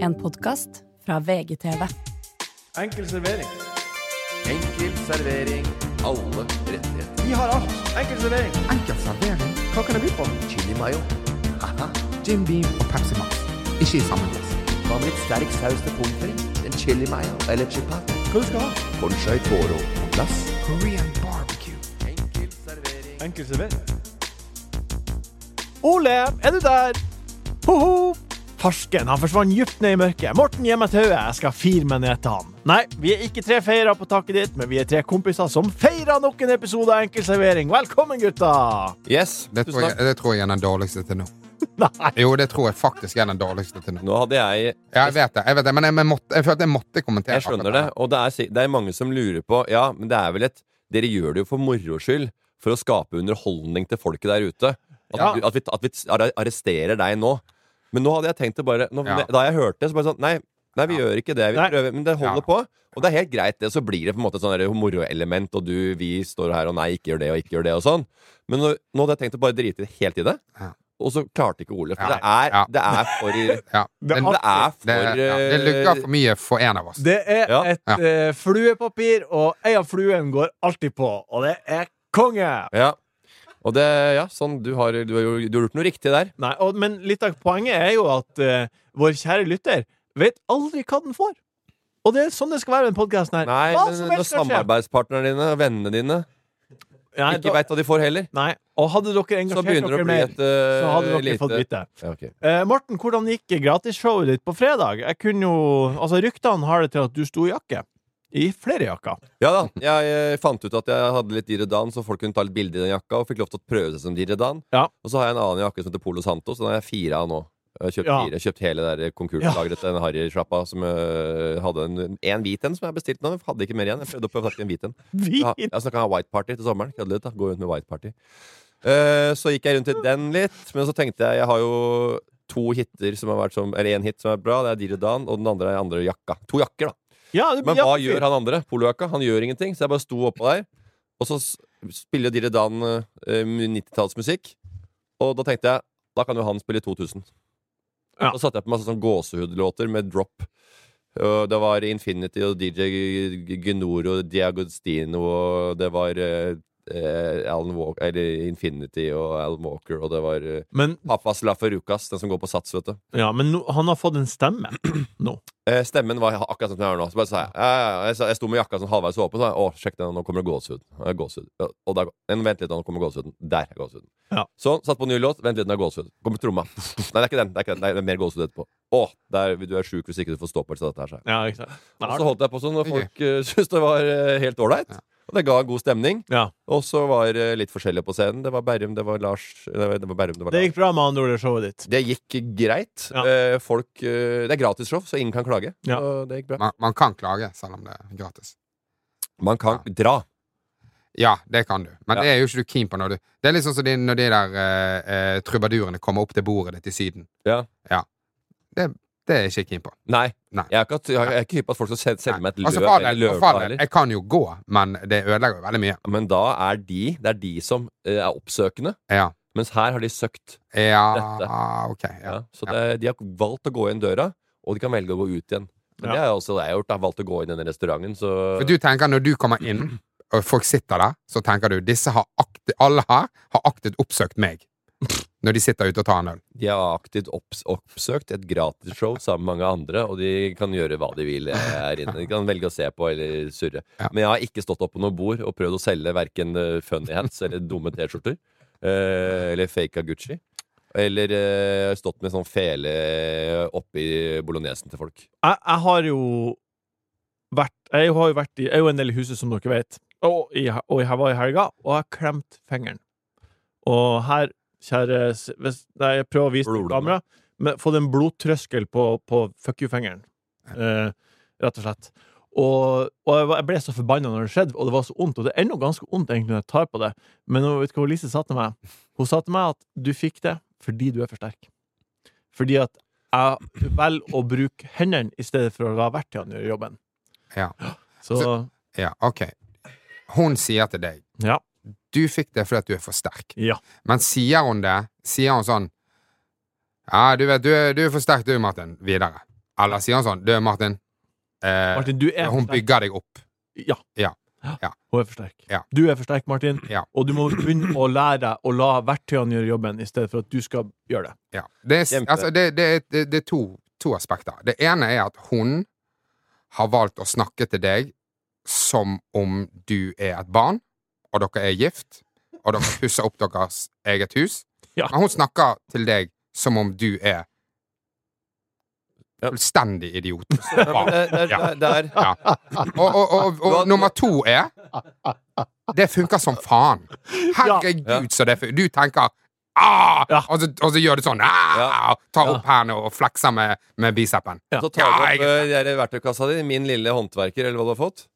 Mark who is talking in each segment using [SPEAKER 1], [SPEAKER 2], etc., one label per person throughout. [SPEAKER 1] En podkast fra VGTV.
[SPEAKER 2] Enkel servering.
[SPEAKER 3] Enkel servering. Alle rettigheter.
[SPEAKER 2] Vi har alt. Enkel servering.
[SPEAKER 4] Enkel servering,
[SPEAKER 2] Hva kan det by på?
[SPEAKER 3] Chili mayo. Haha.
[SPEAKER 4] Jim Beam og Pepsi Max. Ikke i samme glass.
[SPEAKER 3] Hva med litt sterk saus til pommes frites? En chili mayo eller chipat?
[SPEAKER 2] Hva du skal ha?
[SPEAKER 3] Conchai toro på glass.
[SPEAKER 4] Korean barbecue.
[SPEAKER 3] Enkel servering.
[SPEAKER 2] Enkel servering. Ole, er du der? Ho-ho! Farsken han forsvant dypt ned i mørket. Morten gir meg tauet. Jeg skal fire meg ned til han. Nei, vi er ikke tre feirer på taket ditt, men vi er tre kompiser som feirer nok en episode av Enkel servering. Velkommen, gutta!
[SPEAKER 5] Yes,
[SPEAKER 4] Det tror, jeg, det tror jeg er den dårligste til nå.
[SPEAKER 2] Nei.
[SPEAKER 4] Jo, det tror jeg faktisk er den dårligste til nå.
[SPEAKER 5] Nå hadde jeg
[SPEAKER 4] Ja, jeg vet det, jeg vet det men jeg, men måtte, jeg følte jeg måtte kommentere.
[SPEAKER 5] Jeg skjønner det.
[SPEAKER 4] akkurat
[SPEAKER 5] eh, Og det er, si- det er mange som lurer på Ja, men det er vel et Dere gjør det jo for moro skyld. For å skape underholdning til folket der ute. At,
[SPEAKER 2] Ja.
[SPEAKER 5] du, at, vi, at vi arre- arresterer deg nå. Men nå hadde jeg tenkt å bare nå,
[SPEAKER 4] Ja.
[SPEAKER 5] Da jeg hørte det, så bare sånn Nei, nei vi gjør ikke det. Vi
[SPEAKER 2] Nei.
[SPEAKER 5] prøver, men det holder
[SPEAKER 4] Ja.
[SPEAKER 5] på. Og det er helt greit, det. Så blir det på en måte et sånn der moroelement, og du, vi står her og nei, ikke gjør det, og ikke gjør det, og sånn. Men nå, nå hadde jeg tenkt å bare drite helt i det.
[SPEAKER 4] Ja.
[SPEAKER 5] Og så klarte ikke Ole. For
[SPEAKER 4] Ja.
[SPEAKER 5] det, er,
[SPEAKER 4] Ja.
[SPEAKER 5] det er for
[SPEAKER 4] Ja,
[SPEAKER 2] Det
[SPEAKER 4] men
[SPEAKER 5] Men det er for eh,
[SPEAKER 4] det, ja, det lugger for mye for en av oss.
[SPEAKER 2] Det er
[SPEAKER 5] Ja.
[SPEAKER 2] et
[SPEAKER 4] Ja.
[SPEAKER 2] eh, fluepapir, og ei av fluene går alltid på, og det er konge!
[SPEAKER 5] Ja. Og det, ja, sånn, du har, du har, jo- du har gjort noe riktig der.
[SPEAKER 2] Nei, og, men litt av poenget er jo at eh, vår kjære lytter vet aldri hva den får. Og det er sånn det skal være med podkasten her.
[SPEAKER 5] Nei,
[SPEAKER 2] hva
[SPEAKER 5] men når samarbeidspartnerne dine og vennene dine
[SPEAKER 2] Nei,
[SPEAKER 5] ikke
[SPEAKER 2] da,
[SPEAKER 5] veit hva de får heller,
[SPEAKER 2] nei, og hadde dere
[SPEAKER 5] så
[SPEAKER 2] engasjert dere
[SPEAKER 5] begynner det å bli
[SPEAKER 2] mer,
[SPEAKER 5] et uh,
[SPEAKER 2] eh, så hadde dere
[SPEAKER 5] lite
[SPEAKER 2] fått vite.
[SPEAKER 5] Ja, ok.
[SPEAKER 2] Eh, Morten, hvordan gikk gratisshowet ditt på fredag? Jeg kunne jo, altså Ryktene har det til at du sto i jakke. I flere jakker.
[SPEAKER 5] ja da. Jeg eh, fant ut at jeg hadde litt Diredan, så folk kunne ta litt bilde i den jakka, og fikk lov til å prøve seg som Diredan.
[SPEAKER 2] Ja.
[SPEAKER 5] Og så har jeg en annen jakke som heter Polo Santo, så den har jeg fire av nå. Jeg har kjøpt,
[SPEAKER 2] Ja.
[SPEAKER 5] fire. Jeg har kjøpt hele det der konkurslageret til den harrysjappa som eh, hadde en, en hvit en som jeg bestilte nå. Jeg Hadde ikke mer igjen. Jeg prøvde å prøve en hvit en.
[SPEAKER 2] Vi,
[SPEAKER 5] Ja, jeg snakka om white party til sommeren. Kødde litt, da. Gå rundt med white party. Eh, så gikk jeg rundt i den litt, men så tenkte jeg Jeg har jo to hitter som har vært som Eller én hit som er bra. Det er Dir Dan, og den andre er den andre jakka. To jakker, da.
[SPEAKER 2] ja, det blir
[SPEAKER 5] Men hva
[SPEAKER 2] jakkefyr.
[SPEAKER 5] gjør han andre? Polojakka? Han gjør ingenting. Så jeg bare sto oppå der, og så s- spiller Dir Dan uh, 90-tallsmusikk. Og da tenkte jeg da kan jo han spille 2000.
[SPEAKER 2] Ja.
[SPEAKER 5] Så satte jeg på masse sånn gåsehudlåter med drop. Og det var Infinity og DJ Gunoro og Diagostino og det var eh, eh, Alan Walker Eller Infinity og Alan Walker, og det var eh,
[SPEAKER 2] Men,
[SPEAKER 5] Pappas Laferucas, den som går på Sats, vet du.
[SPEAKER 2] ja, men nå- han har fått en stemme nå.
[SPEAKER 5] Eh, stemmen var akkurat sånn som jeg er nå. Så bare sa jeg, ja, ja, ja. jeg, sa- jeg sto med jakka sånn halvveis åpen, så sa jeg å, sjekk den, nå kommer det gåsehud. Ja, gåsehud. Ja, Og der, men vent litt, nå kommer gåsehuden. Der er gåsehuden.
[SPEAKER 2] Ja.
[SPEAKER 5] Sånn, satt på ny låt, vent litt, nå er gåsehud. Kommer tromma. Nei, det er ikke den. Det er, ikke den. Det er mer gåsehud etterpå. Å, der, du er sjuk hvis ikke du får ståpels av dette her, sa jeg.
[SPEAKER 2] Ja, ikke sant?
[SPEAKER 5] Og så holdt jeg på sånn, og folk uh, syntes det var eh, helt ålreit. Og det ga en god stemning.
[SPEAKER 2] Ja.
[SPEAKER 5] Og så var det litt forskjellig på scenen. Det var Berrum, det var Lars Det var, det var Berrum, det var
[SPEAKER 2] Det
[SPEAKER 5] Lars.
[SPEAKER 2] gikk bra med andre ord, det showet ditt.
[SPEAKER 5] Det gikk greit.
[SPEAKER 2] Ja.
[SPEAKER 5] Eh, folk, eh, det er gratis show, så ingen kan klage.
[SPEAKER 2] Ja.
[SPEAKER 5] Så det gikk bra.
[SPEAKER 4] Man, man kan klage, selv om det er gratis.
[SPEAKER 5] Man kan dra.
[SPEAKER 4] Ja, det kan du, men
[SPEAKER 5] Ja.
[SPEAKER 4] det er jo ikke du keen på når du Det er litt sånn som de, når de der eh, eh, trubadurene kommer opp til bordet ditt i Syden.
[SPEAKER 5] Ja.
[SPEAKER 4] Det, det er jeg ikke keen på.
[SPEAKER 5] Nei.
[SPEAKER 4] Nei.
[SPEAKER 5] Jeg er ikke, jeg er ikke hypp på at folk skal sende, sende meg et
[SPEAKER 4] Nei.
[SPEAKER 5] løv
[SPEAKER 4] Altså, for all
[SPEAKER 5] eller
[SPEAKER 4] del, for all
[SPEAKER 5] løvblad
[SPEAKER 4] del,
[SPEAKER 5] heller.
[SPEAKER 4] jeg kan jo gå, men det ødelegger jo veldig mye.
[SPEAKER 5] Men da er de Det er de som eh, er oppsøkende.
[SPEAKER 4] Ja,
[SPEAKER 5] Mens her har de søkt. Dette.
[SPEAKER 4] ja ok. Ja.
[SPEAKER 5] Ja. Så det, de har valgt å gå inn døra, og de kan velge å gå ut igjen. Men
[SPEAKER 2] Ja.
[SPEAKER 5] det er også det jeg har gjort. Jeg har valgt å gå inn i den restauranten, så
[SPEAKER 4] For du tenker når du kommer inn,
[SPEAKER 2] Mm-hmm.
[SPEAKER 4] og folk sitter der, så tenker du disse har akti- alle her har aktivt oppsøkt meg. Når de sitter ute og tar en øl.
[SPEAKER 5] de har aktivt opps oppsøkt et gratisshow sammen med mange andre, og de kan gjøre hva de vil eh, her inne. De kan velge å se på eller surre.
[SPEAKER 4] Ja.
[SPEAKER 5] Men jeg har ikke stått opp på noe bord og prøvd å selge verken funny hats eller dumme T-skjorter. eh, eller fake Gucci. Eller eh, stått med sånn fele oppi bolognesen til folk.
[SPEAKER 2] jeg, jeg har jo vært Jeg har jo vært i Jeg er jo en del i huset, som dere vet. Og, i, og jeg var i helga, og jeg klemte fingeren. Og her, kjære s- hvis, Nei, jeg prøver å vise til
[SPEAKER 5] Blodlømme.
[SPEAKER 2] kamera. Men fått en blodtrøskel på, på fuck you-fingeren. Eh, rett og slett. Og, og jeg, var, jeg ble så forbanna når det skjedde, og det var så vondt. Og det er ennå ganske vondt, egentlig, når jeg tar på det. Men nå vet du hva Lise sa til meg? Hun sa til meg at du fikk det fordi du er for sterk. Fordi at jeg velger å bruke hendene i stedet for å la verktøyene gjøre jobben.
[SPEAKER 4] Ja.
[SPEAKER 2] Så,
[SPEAKER 4] ja, ok. Hun sier til deg
[SPEAKER 2] ja.
[SPEAKER 4] du fikk det fordi at du er for sterk.
[SPEAKER 2] Ja.
[SPEAKER 4] Men sier hun det, sier hun sånn Ja, du vet, du er, du er for sterk du, Martin. Videre. Eller sier han sånn Du, Martin. Eh,
[SPEAKER 2] Martin, du er
[SPEAKER 4] hun
[SPEAKER 2] for sterk.
[SPEAKER 4] bygger deg opp.
[SPEAKER 2] Ja.
[SPEAKER 4] Ja. Ja.
[SPEAKER 2] Hun er for sterk.
[SPEAKER 4] Ja.
[SPEAKER 2] Du er for sterk, Martin,
[SPEAKER 4] Ja.
[SPEAKER 2] og du må begynne å lære deg å la verktøyene gjøre jobben, i stedet for at du skal gjøre det.
[SPEAKER 4] Ja. Det, er,
[SPEAKER 5] Kjempe.
[SPEAKER 4] altså, det, det, er- det, det er to, to aspekter. Det ene er at hun har valgt å snakke til deg som om du er et barn, og dere er gift, og dere pusser opp deres eget hus.
[SPEAKER 2] Ja.
[SPEAKER 4] Men hun snakker til deg som om du er
[SPEAKER 5] Ja.
[SPEAKER 4] fullstendig idiot.
[SPEAKER 5] Ja, men det- det-
[SPEAKER 4] Ja.
[SPEAKER 5] det er-
[SPEAKER 4] Ja. Og, og, og, og nummer to er Det funker som faen. Herregud, så det funker. Du tenker ah,
[SPEAKER 2] Ja.
[SPEAKER 4] og, så, og så gjør du sånn ah, Tar opp hendene og flekser med, med bicepen.
[SPEAKER 5] Så
[SPEAKER 4] Ja,
[SPEAKER 5] tar
[SPEAKER 4] jeg-
[SPEAKER 5] du opp eh, den der verktøykassa di, min lille håndverker, eller hva du har fått.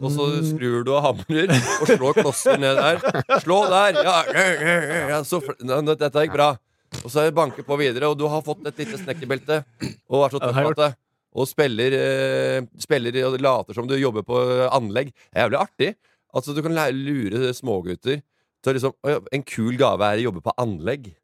[SPEAKER 5] Og så
[SPEAKER 2] Mm.
[SPEAKER 5] skrur du og hamrer og slår klosser ned der. Slå der! Ja, ja, ja, ja, ja, så, fl- Nei, nei, dette gikk bra. Og så banker på videre, og du har fått et lite snekkerbelte. Og er så
[SPEAKER 2] Ja, det har
[SPEAKER 5] tøff
[SPEAKER 2] jeg
[SPEAKER 5] at det. Og spiller, eh, spiller og later som du jobber på eh, anlegg. Det er jævlig artig. Altså, du kan lære, lure smågutter til å liksom «Å ja, En kul gave er å jobbe på anlegg.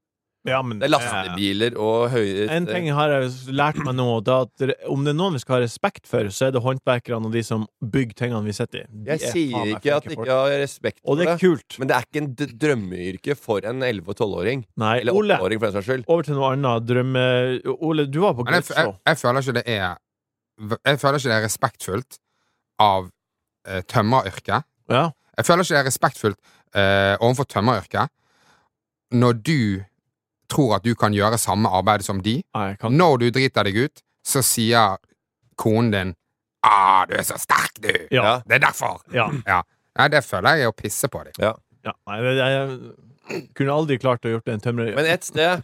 [SPEAKER 2] Ja, men, eh,
[SPEAKER 5] Det er lastebiler og høye
[SPEAKER 2] En ting har jeg lært meg nå, det er at dere- om det er noen vi skal ha respekt for, så er det håndverkerne og de som bygger tingene vi sitter i. De
[SPEAKER 5] Jeg
[SPEAKER 2] er faen
[SPEAKER 5] sier
[SPEAKER 2] meg
[SPEAKER 5] ikke at
[SPEAKER 2] flinke
[SPEAKER 5] jeg
[SPEAKER 2] folk.
[SPEAKER 5] ikke har respekt
[SPEAKER 2] Og
[SPEAKER 5] for
[SPEAKER 2] det
[SPEAKER 5] det.
[SPEAKER 2] er kult.
[SPEAKER 5] Men det er ikke en d- drømmeyrke for en 11- og 12-åring.
[SPEAKER 2] Nei,
[SPEAKER 5] Eller
[SPEAKER 2] Ole,
[SPEAKER 5] 8-åring, for den saks skyld.
[SPEAKER 2] over til noe annet. Drømme... Ole, du var på
[SPEAKER 4] Men jeg, f- jeg,
[SPEAKER 2] Glittershow.
[SPEAKER 4] jeg føler ikke det er Jeg føler ikke det er respektfullt av eh, tømmeryrket.
[SPEAKER 2] Ja.
[SPEAKER 4] Jeg føler ikke det er respektfullt eh, overfor tømmeryrket når du tror at du kan gjøre samme arbeid som de,
[SPEAKER 2] Nei, jeg kan
[SPEAKER 4] Når du driter deg ut, så sier konen din Ah, du er så sterk, du!
[SPEAKER 2] Ja.
[SPEAKER 4] Det er derfor!
[SPEAKER 2] Ja.
[SPEAKER 4] Ja. Nei, det føler jeg er å pisse på dem.
[SPEAKER 2] ja. Nei, jeg, jeg kunne aldri klart å gjort det en tømrer.
[SPEAKER 5] Men et sted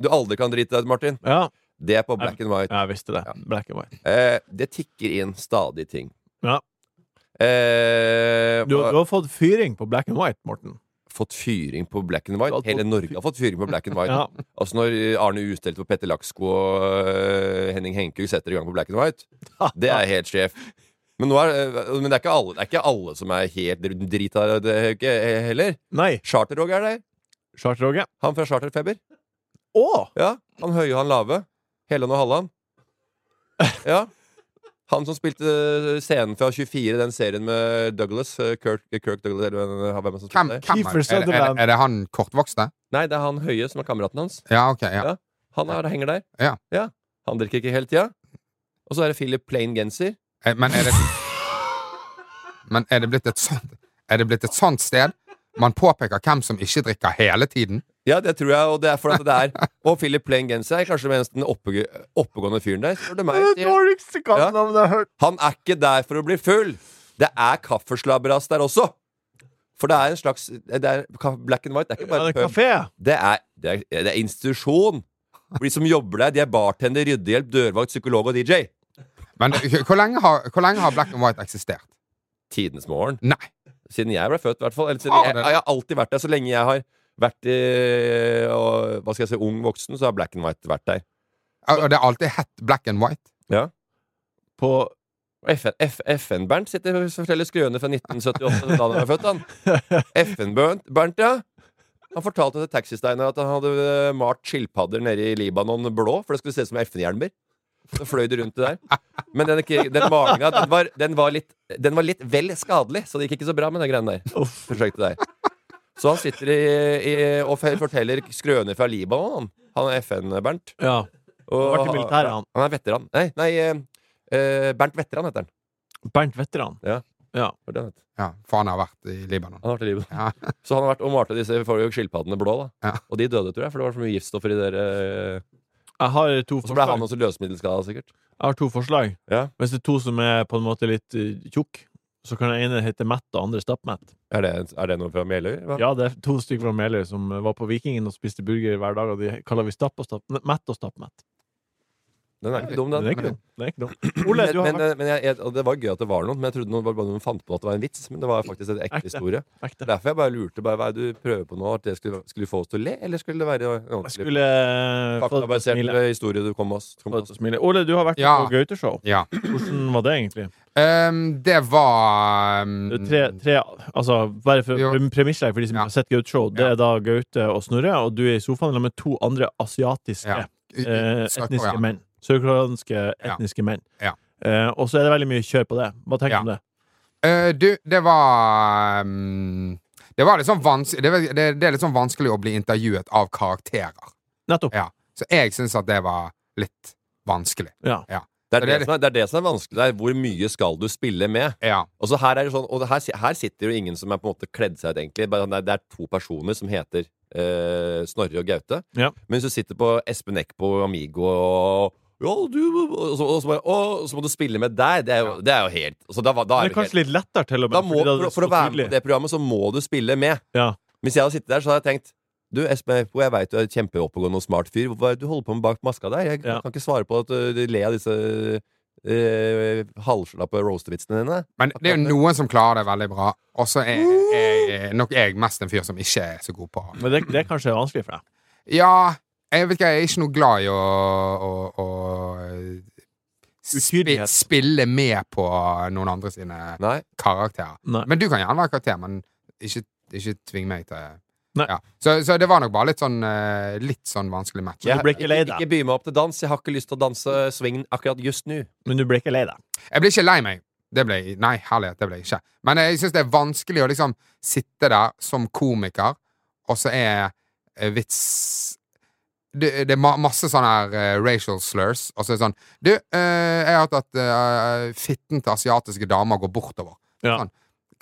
[SPEAKER 5] du aldri kan drite deg ut, Martin,
[SPEAKER 2] Ja,
[SPEAKER 5] det er på black and white.
[SPEAKER 2] jeg visste det. Black and white.
[SPEAKER 5] Eh, det tikker inn stadig ting.
[SPEAKER 2] Ja.
[SPEAKER 5] Eh,
[SPEAKER 2] Du,
[SPEAKER 5] og-
[SPEAKER 2] du har fått fyring på black and white, Morten.
[SPEAKER 5] Fått fyring på black and
[SPEAKER 2] Du
[SPEAKER 5] white.
[SPEAKER 2] har
[SPEAKER 5] Hele
[SPEAKER 2] fått
[SPEAKER 5] Norge
[SPEAKER 2] fy-
[SPEAKER 5] har fått fyring på black and white.
[SPEAKER 2] Ja.
[SPEAKER 5] Altså Når Arne Ustelte og Petter Laksko og eh, Henning Henkug setter i gang på black and white, det er helt sjef. Men, nå er, eh, men det, er ikke alle, det er ikke alle som er helt dr- drita det er ikke- heller.
[SPEAKER 2] Nei,
[SPEAKER 5] Charter-Roger er der.
[SPEAKER 2] Charter-Åge.
[SPEAKER 5] Han fra Charterfeber.
[SPEAKER 2] Å!
[SPEAKER 5] Ja, han høye og han lave. Helland og Halland. Ja. Han som spilte eh, scenen fra 24, den serien med Douglas. eh, Kirk, Kirk Douglas, eller hvem- hvem er det som spilte
[SPEAKER 4] Hvem,
[SPEAKER 5] det?
[SPEAKER 4] hvem
[SPEAKER 2] Kiefer
[SPEAKER 4] er, det? er, det, er,
[SPEAKER 2] Sutherland.
[SPEAKER 4] det, er det han kortvokste?
[SPEAKER 5] Nei, det er han høye som er kameraten hans.
[SPEAKER 4] Ja, ok. Ja.
[SPEAKER 5] Ja. Han er, henger der.
[SPEAKER 4] Ja.
[SPEAKER 5] Han drikker ikke hele tida. Og så er det Philip Plain Genser.
[SPEAKER 4] Eh, Men er det Men er det blitt et sånt Er det blitt et sånt sted man påpeker hvem som ikke drikker hele tiden?
[SPEAKER 5] Ja, det tror jeg, og det er fordi det er Og Philip Plain Genser er kanskje den eneste oppegå- oppegående fyren der. Spør du meg. sier jeg.
[SPEAKER 2] dårligste
[SPEAKER 5] kallenavnet
[SPEAKER 2] jeg har hørt.
[SPEAKER 5] Han er ikke der for å bli full. Det er kaffeslabberas der også. For det er en slags det er, Black and white det er ikke
[SPEAKER 2] Ja,
[SPEAKER 5] bare
[SPEAKER 2] det er
[SPEAKER 5] pub.
[SPEAKER 2] kafé.
[SPEAKER 5] Det er, det er, det er institusjon. For de som jobber der, de er bartender, ryddehjelp, dørvakt, psykolog og DJ.
[SPEAKER 4] Men det- hvor lenge har, hvor lenge har Black and White eksistert?
[SPEAKER 5] Tidenes morgen.
[SPEAKER 4] Nei.
[SPEAKER 5] Siden jeg ble født, i hvert fall. Eller siden
[SPEAKER 4] Ah,
[SPEAKER 5] jeg,
[SPEAKER 4] det-
[SPEAKER 5] jeg har alltid vært der. Så lenge jeg har vært eh, og, hva skal jeg si, ung voksen, så har black and white vært der.
[SPEAKER 4] Og og det har alltid hett Black and White.
[SPEAKER 2] På
[SPEAKER 5] Og FN F- FN-Bernt sitter og forteller skrøner fra 1978, da han ble født, han. FN-Bernt, Bernt, ja. Han fortalte til Taxisteiner at han hadde eh, malt skilpadder nede i Libanon blå, for det skulle se ut som FN-hjelmer. Så fløy det rundt det der. Men den, den malinga, den var, den, var litt, den var litt vel skadelig, så det gikk ikke så bra med den greiene der. Prosjektet der. Så han sitter i, i, og forteller skrøner fra Libanon, han. Han er FN-Bernt.
[SPEAKER 2] Ja.
[SPEAKER 5] Og-
[SPEAKER 2] Han har vært i militæret, han.
[SPEAKER 5] Han er veteran. Nei, nei eh, eh, Bernt Veteran heter han.
[SPEAKER 2] Bernt Veteran.
[SPEAKER 5] Hva er det han heter?
[SPEAKER 4] Ja, for han har vært i Libanon.
[SPEAKER 5] Han har vært i livet.
[SPEAKER 4] Ja.
[SPEAKER 5] Så han har vært og malte disse forrige skilpaddene blå. da
[SPEAKER 4] Ja.
[SPEAKER 5] Og de døde, tror jeg, for det var for mye giftstoffer i der. eh,
[SPEAKER 2] Jeg har to
[SPEAKER 5] Og så ble han
[SPEAKER 2] forslag.
[SPEAKER 5] også løsemiddelskada, sikkert.
[SPEAKER 2] Jeg har to forslag.
[SPEAKER 5] Ja.
[SPEAKER 2] Hvis det er to som er på en måte litt eh, tjukk, så kan den ene hete Matt og andre Stappmatt.
[SPEAKER 5] Er det, er det noe fra Meløy? hva?
[SPEAKER 2] Ja, det er to stykker fra Meløy som eh, var på Vikingen og spiste burger hver dag, og de kaller vi Stapp og Stapp, nei, Matt og Stappmatt.
[SPEAKER 5] Den er ikke dum,
[SPEAKER 2] Det
[SPEAKER 5] den.
[SPEAKER 2] er ikke dumt. Det er ikke dumt. Ole, du har
[SPEAKER 5] men,
[SPEAKER 2] vært
[SPEAKER 5] men, men jeg, jeg, og det var gøy at det var noen, men jeg trodde noen, bare noen fant på at det var en vits. Men det var faktisk en ekte
[SPEAKER 2] Ekte.
[SPEAKER 5] historie. eh, Det er
[SPEAKER 2] ekte.
[SPEAKER 5] Derfor jeg bare lurte bare, hva er det du prøver på nå. At det skulle, skulle få oss til å le, eller skulle det være en
[SPEAKER 2] Jeg
[SPEAKER 5] ordentlig
[SPEAKER 2] skulle eh, få deg til å
[SPEAKER 5] faktabasert
[SPEAKER 2] smile.
[SPEAKER 5] historie du kom med oss? Kom
[SPEAKER 2] Få
[SPEAKER 5] med
[SPEAKER 2] deg til å
[SPEAKER 5] oss.
[SPEAKER 2] smile. Ole, du har vært
[SPEAKER 4] Ja.
[SPEAKER 2] på Gauteshow.
[SPEAKER 4] Ja.
[SPEAKER 2] Hvordan var det egentlig?
[SPEAKER 4] Ehm, det var ehm,
[SPEAKER 2] Det er Tre, tre, altså, bare for
[SPEAKER 4] Jo.
[SPEAKER 2] pre- premisslegg for de som
[SPEAKER 4] Ja.
[SPEAKER 2] har sett Gauteshow, det
[SPEAKER 4] Ja.
[SPEAKER 2] er da Gaute og Snorre, og du er i sofaen sammen med to andre asiatiske
[SPEAKER 4] Ja.
[SPEAKER 2] eh,
[SPEAKER 4] Sørkorea.
[SPEAKER 2] etniske menn. sørkoreanske etniske menn.
[SPEAKER 4] Ja.
[SPEAKER 2] Eh, og så er det veldig mye kjør på det. Hva tenker du
[SPEAKER 4] Ja.
[SPEAKER 2] om det?
[SPEAKER 4] Eh, du, det var mm, Det var litt sånn vanskelig det, var- det, det er litt sånn vanskelig å bli intervjuet av karakterer.
[SPEAKER 2] Nettopp.
[SPEAKER 4] Ja. Så jeg syns at det var litt vanskelig.
[SPEAKER 2] Ja.
[SPEAKER 5] Det er
[SPEAKER 4] Det
[SPEAKER 5] det,
[SPEAKER 4] er det.
[SPEAKER 5] som er, det er det som er vanskelig. Det er hvor mye skal du spille med?
[SPEAKER 4] Ja.
[SPEAKER 5] Og så her er det sånn Og det her, si- her sitter jo ingen som er på en måte kledd seg ut, egentlig. Bare, sånn, nei, det er to personer som heter eh, Snorre og Gaute.
[SPEAKER 2] Ja.
[SPEAKER 5] Men hvis du sitter på Espen Eckbo og Amigo og ja, du, og, så, og, så bare, å, så må du spille med der. Det er jo, det er jo helt så da, var- da
[SPEAKER 2] Det
[SPEAKER 5] er
[SPEAKER 2] er
[SPEAKER 5] det helt
[SPEAKER 2] kanskje litt lettere, til og med.
[SPEAKER 5] da må,
[SPEAKER 2] fordi det er
[SPEAKER 5] for,
[SPEAKER 2] så
[SPEAKER 5] for å være med
[SPEAKER 2] tydelig.
[SPEAKER 5] på det programmet, så må du spille med.
[SPEAKER 2] Ja.
[SPEAKER 5] Hvis jeg hadde sittet der, så hadde jeg tenkt Du, Espen Eckbo, jeg veit du er kjempeoppegående og smart fyr. Hva er det du holder på med bak maska der? Jeg
[SPEAKER 2] Ja.
[SPEAKER 5] kan ikke svare på at uh, du ler av disse uh, halvslappe roastervitsene dine.
[SPEAKER 4] Men det er jo noen som klarer det veldig bra, og så er, er nok jeg mest en fyr som ikke er så god på
[SPEAKER 2] Men det, det er kanskje vanskelig for deg.
[SPEAKER 4] Ja, jeg vet ikke, jeg er ikke noe glad i å, å, å spi,
[SPEAKER 2] Utydelighet.
[SPEAKER 4] spille med på noen andre sine
[SPEAKER 5] Nei.
[SPEAKER 4] karakterer.
[SPEAKER 2] Nei.
[SPEAKER 4] Men du kan gjerne være karakter, men ikke, ikke tving meg til
[SPEAKER 2] Nei.
[SPEAKER 4] Ja. Så, så det var nok bare litt sånn, eh, litt sånn vanskelig match.
[SPEAKER 2] Men du ble ikke lei
[SPEAKER 5] ikke,
[SPEAKER 2] deg.
[SPEAKER 5] ikke by meg opp til dans. Jeg har ikke lyst til å danse swing akkurat just nå.
[SPEAKER 2] Men du ble ikke lei deg.
[SPEAKER 4] Jeg ble ikke lei meg. Det ble, nei, herlighet, det ble jeg ikke. Men jeg syns det er vanskelig å liksom sitte der som komiker, og så er eh, vits det, det er ma- masse sånne her eh, racial slurs. Og så er det sånn Du, eh, jeg har hørt at eh, fitten til asiatiske damer går bortover.
[SPEAKER 2] Ja.
[SPEAKER 4] Sånn.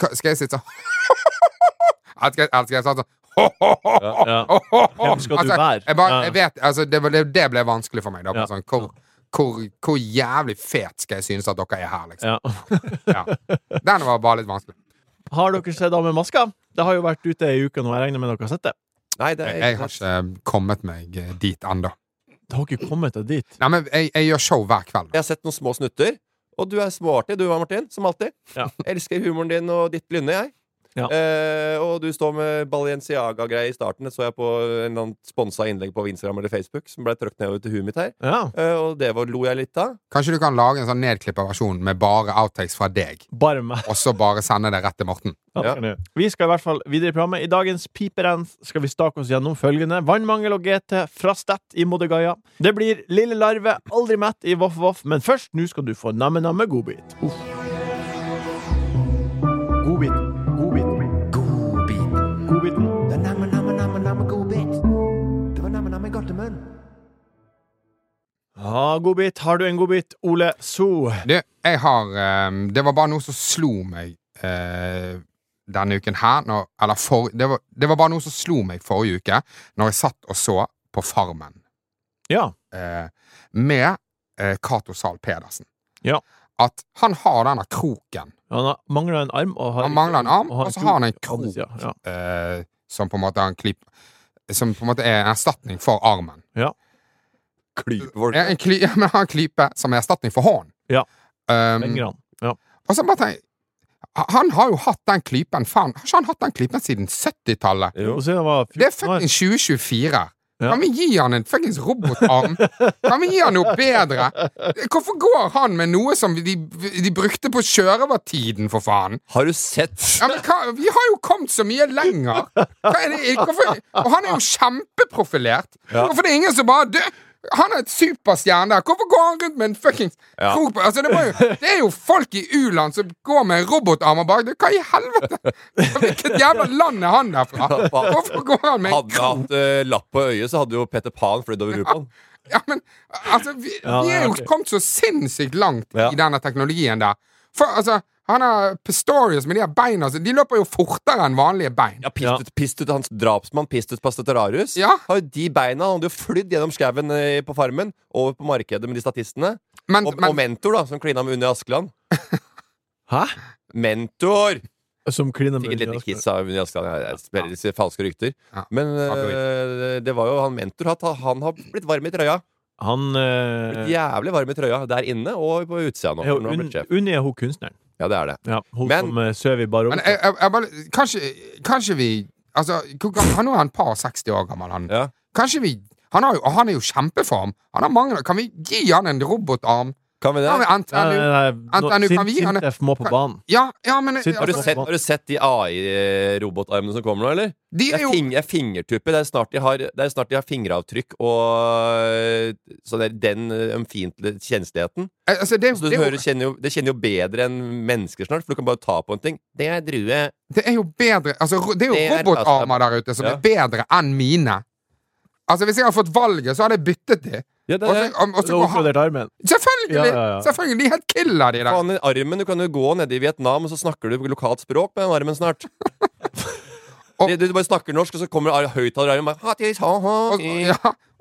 [SPEAKER 4] Hva- Skal jeg sitte sånn Eller skal jeg- eller skal jeg sånn sånn ho, ho, ho, ho,
[SPEAKER 2] Ja.
[SPEAKER 4] ho, ho, ho.
[SPEAKER 2] Hvem skal du
[SPEAKER 4] Altså,
[SPEAKER 2] være?
[SPEAKER 4] Jeg bare,
[SPEAKER 2] Ja.
[SPEAKER 4] jeg vet, altså, det, var- det, det ble vanskelig for meg. Da. Bare
[SPEAKER 2] Ja.
[SPEAKER 4] Sånn, hvor, hvor, hvor jævlig fet skal jeg synes at dere er her, liksom?
[SPEAKER 2] Ja.
[SPEAKER 4] Ja. Den var bare litt vanskelig.
[SPEAKER 2] Har dere sett Av med maska? Det har jo vært ute ei uke nå. Jeg regner med dere har sett det.
[SPEAKER 5] Nei, det er
[SPEAKER 4] Jeg har ikke kommet meg eh, dit ennå.
[SPEAKER 2] Det har ikke kommet deg dit.
[SPEAKER 4] Nei, men jeg, jeg gjør show hver kveld.
[SPEAKER 5] Jeg har sett noen små snutter. Og du er småartig, du, Martin. Som alltid.
[SPEAKER 2] Ja.
[SPEAKER 5] Elsker humoren din og ditt blinde, jeg.
[SPEAKER 2] Ja.
[SPEAKER 5] Eh, og du står med Balenciaga-greier i starten. Det så jeg på en eller annen sponsa innlegg på Instagram eller Facebook som ble trøkt nedover til huet mitt her.
[SPEAKER 2] Ja.
[SPEAKER 5] Eh, og det var, lo jeg litt av.
[SPEAKER 4] Kanskje du kan lage en sånn nedklippa versjon med bare outtakes fra deg,
[SPEAKER 2] Bare meg.
[SPEAKER 4] og så bare sende det rett til Morten.
[SPEAKER 5] Ja.
[SPEAKER 2] Vi skal i hvert fall videre i programmet. I dagens piperens skal vi stake oss gjennom følgende. Vannmangel og GT fra Stett i Modegaia. Det blir Lille Larve, Aldri mett i Voff Voff, men først nå skal du få namme-namme godbit. Uff. Godbit. Godbit.
[SPEAKER 3] Godbit.
[SPEAKER 2] Godbiten.
[SPEAKER 3] Det er namme, namme, namme, namme godbit. Det var namme, namme godtemunn.
[SPEAKER 2] Ja, godbit. Har du en godbit, Ole So?
[SPEAKER 4] Du, jeg har eh, Det var bare noe som slo meg eh, denne uken her når, Eller for, det, var, det var bare noe som slo meg forrige uke, når jeg satt og så på Farmen
[SPEAKER 2] Ja.
[SPEAKER 4] eh, med eh, Cato Zahl Pedersen.
[SPEAKER 2] Ja.
[SPEAKER 4] At han har denne kroken
[SPEAKER 2] Han har- mangler en arm. Og har
[SPEAKER 4] Han mangler en arm,
[SPEAKER 2] har
[SPEAKER 4] og så har han en
[SPEAKER 2] på andre
[SPEAKER 4] krok.
[SPEAKER 2] siden. Ja.
[SPEAKER 4] eh, som på en måte har en klipp Som på en måte er en erstatning for armen.
[SPEAKER 5] Klypevolk.
[SPEAKER 4] En, kly, ja, men han har en klype som er erstatning for hånden.
[SPEAKER 2] Ja.
[SPEAKER 4] Um,
[SPEAKER 2] Lengre han. Ja.
[SPEAKER 4] og så bare tenk ha- Han har jo hatt den klypen Faen, har ikke han hatt den klypen siden 70-tallet?
[SPEAKER 5] Jo.
[SPEAKER 2] Og siden han var
[SPEAKER 4] Det er
[SPEAKER 2] 14 år.
[SPEAKER 4] fuckings 2024.
[SPEAKER 2] Ja.
[SPEAKER 4] Kan vi gi han en fuckings robotarm? kan vi gi han noe bedre? Hvorfor går han med noe som de, de brukte på sjørøvertiden, for faen?
[SPEAKER 5] Har du sett?
[SPEAKER 4] Ja, men hva, vi har jo kommet så mye lenger! Hva er det, hvorfor, og han er jo kjempeprofilert! Hvorfor det er ingen som bare du, Han er et superstjerne der! Hvorfor går han rundt med en fuckings krok på altså, det, må jo, det er jo folk i u-land som går med en robotarmer bak! Hva i helvete?! Hvilket jævla land er han derfra?! Hvorfor går han med en
[SPEAKER 5] Hadde han hatt eh, lapp på øyet, så hadde jo Peter Pan flydd over huet på han.
[SPEAKER 4] Ja, men altså, vi,
[SPEAKER 2] Ja,
[SPEAKER 4] vi
[SPEAKER 2] nei,
[SPEAKER 4] er jo
[SPEAKER 2] ok.
[SPEAKER 4] kommet så sinnssykt langt
[SPEAKER 5] Ja.
[SPEAKER 4] i denne teknologien der. For altså, han har Pistorius med de her beina altså, De løper jo fortere enn vanlige bein.
[SPEAKER 5] Ja, pist,
[SPEAKER 2] Ja.
[SPEAKER 5] Ut, pist ut hans drapsmann, pist ut Pastetararius.
[SPEAKER 4] Ja.
[SPEAKER 5] Har jo de beina. Han hadde jo flydd gjennom skauen eh, på farmen, over på markedet med de statistene.
[SPEAKER 4] Men,
[SPEAKER 5] Og, og
[SPEAKER 4] men
[SPEAKER 5] mentor, da, som klina med Unni Askeland.
[SPEAKER 2] Hæ?
[SPEAKER 5] Mentor!
[SPEAKER 2] Som kliner med
[SPEAKER 5] Fikk et lite
[SPEAKER 2] Jonas.
[SPEAKER 5] kiss av Unni Askeland. Jeg- Jeg spiller disse falske rykter.
[SPEAKER 4] Ja.
[SPEAKER 5] Men
[SPEAKER 4] Takk for
[SPEAKER 5] eh, det var jo han mentor. Han, han har blitt varm i trøya.
[SPEAKER 2] Han
[SPEAKER 5] Blitt
[SPEAKER 2] eh,
[SPEAKER 5] jævlig varm i trøya der inne og på utsida nå.
[SPEAKER 2] er jo
[SPEAKER 5] når han
[SPEAKER 2] un,
[SPEAKER 5] ble sjef.
[SPEAKER 2] Unni er hun kunstneren.
[SPEAKER 5] Ja, det er det.
[SPEAKER 2] Ja, hun
[SPEAKER 5] Men-
[SPEAKER 2] som eh, søv i bar
[SPEAKER 4] Men jeg,
[SPEAKER 2] overkropp.
[SPEAKER 4] jeg, jeg bare, kanskje, kanskje vi Altså, hvor gammel, Han er jo en par 60 år gammel. Han.
[SPEAKER 5] Ja.
[SPEAKER 4] Kanskje vi han, har jo, han er jo kjempeform. Han har mange, kan vi gi han en robotarm?
[SPEAKER 5] Kan vi det?
[SPEAKER 4] Ja, men
[SPEAKER 2] Nei,
[SPEAKER 4] Antanu
[SPEAKER 2] nei, nei, nå-
[SPEAKER 4] Antanu, kan
[SPEAKER 2] Sin-
[SPEAKER 4] vi gi han
[SPEAKER 2] Sintef må på banen.
[SPEAKER 4] Ja, ja, men
[SPEAKER 2] Sitt-
[SPEAKER 5] Har du
[SPEAKER 4] altså,
[SPEAKER 5] sett, har du sett de AI-robotarmene som kommer nå, eller?
[SPEAKER 4] de
[SPEAKER 5] Det
[SPEAKER 4] er
[SPEAKER 5] er,
[SPEAKER 4] jo
[SPEAKER 5] fing, det er fingertupper. Det er snart de har, det er snart de har fingeravtrykk og Så det er den ømfintlige kjensligheten.
[SPEAKER 4] altså, det, er jo-
[SPEAKER 5] Så du
[SPEAKER 4] det, er
[SPEAKER 5] hører,
[SPEAKER 4] jo,
[SPEAKER 5] kjenner jo, det kjenner jo bedre enn mennesker snart, for du kan bare ta på en ting. Det er drue.
[SPEAKER 4] det er jo bedre altså, ro- Det er
[SPEAKER 5] Det
[SPEAKER 4] jo
[SPEAKER 5] er-
[SPEAKER 4] robotarmer der ute som
[SPEAKER 5] Ja.
[SPEAKER 4] er bedre enn mine. Altså Hvis jeg hadde fått valget, så hadde jeg byttet de.
[SPEAKER 5] Ja,
[SPEAKER 4] Og så- om- og så
[SPEAKER 2] Du har
[SPEAKER 4] går han-
[SPEAKER 2] oppgradert armen.
[SPEAKER 4] Selvfølgelig!
[SPEAKER 2] Ja, ja, ja.
[SPEAKER 4] Selvfølgelig, De er helt killer, de der.
[SPEAKER 5] Faen, den armen, Du kan jo gå nede i Vietnam, og så snakker du lokalt språk med den armen snart.
[SPEAKER 4] Og-
[SPEAKER 5] du, du bare snakker norsk, og så kommer ar- høyttalerarmen bare, «Ha, tis, ha, ha,
[SPEAKER 4] Og,
[SPEAKER 5] i».
[SPEAKER 4] ja,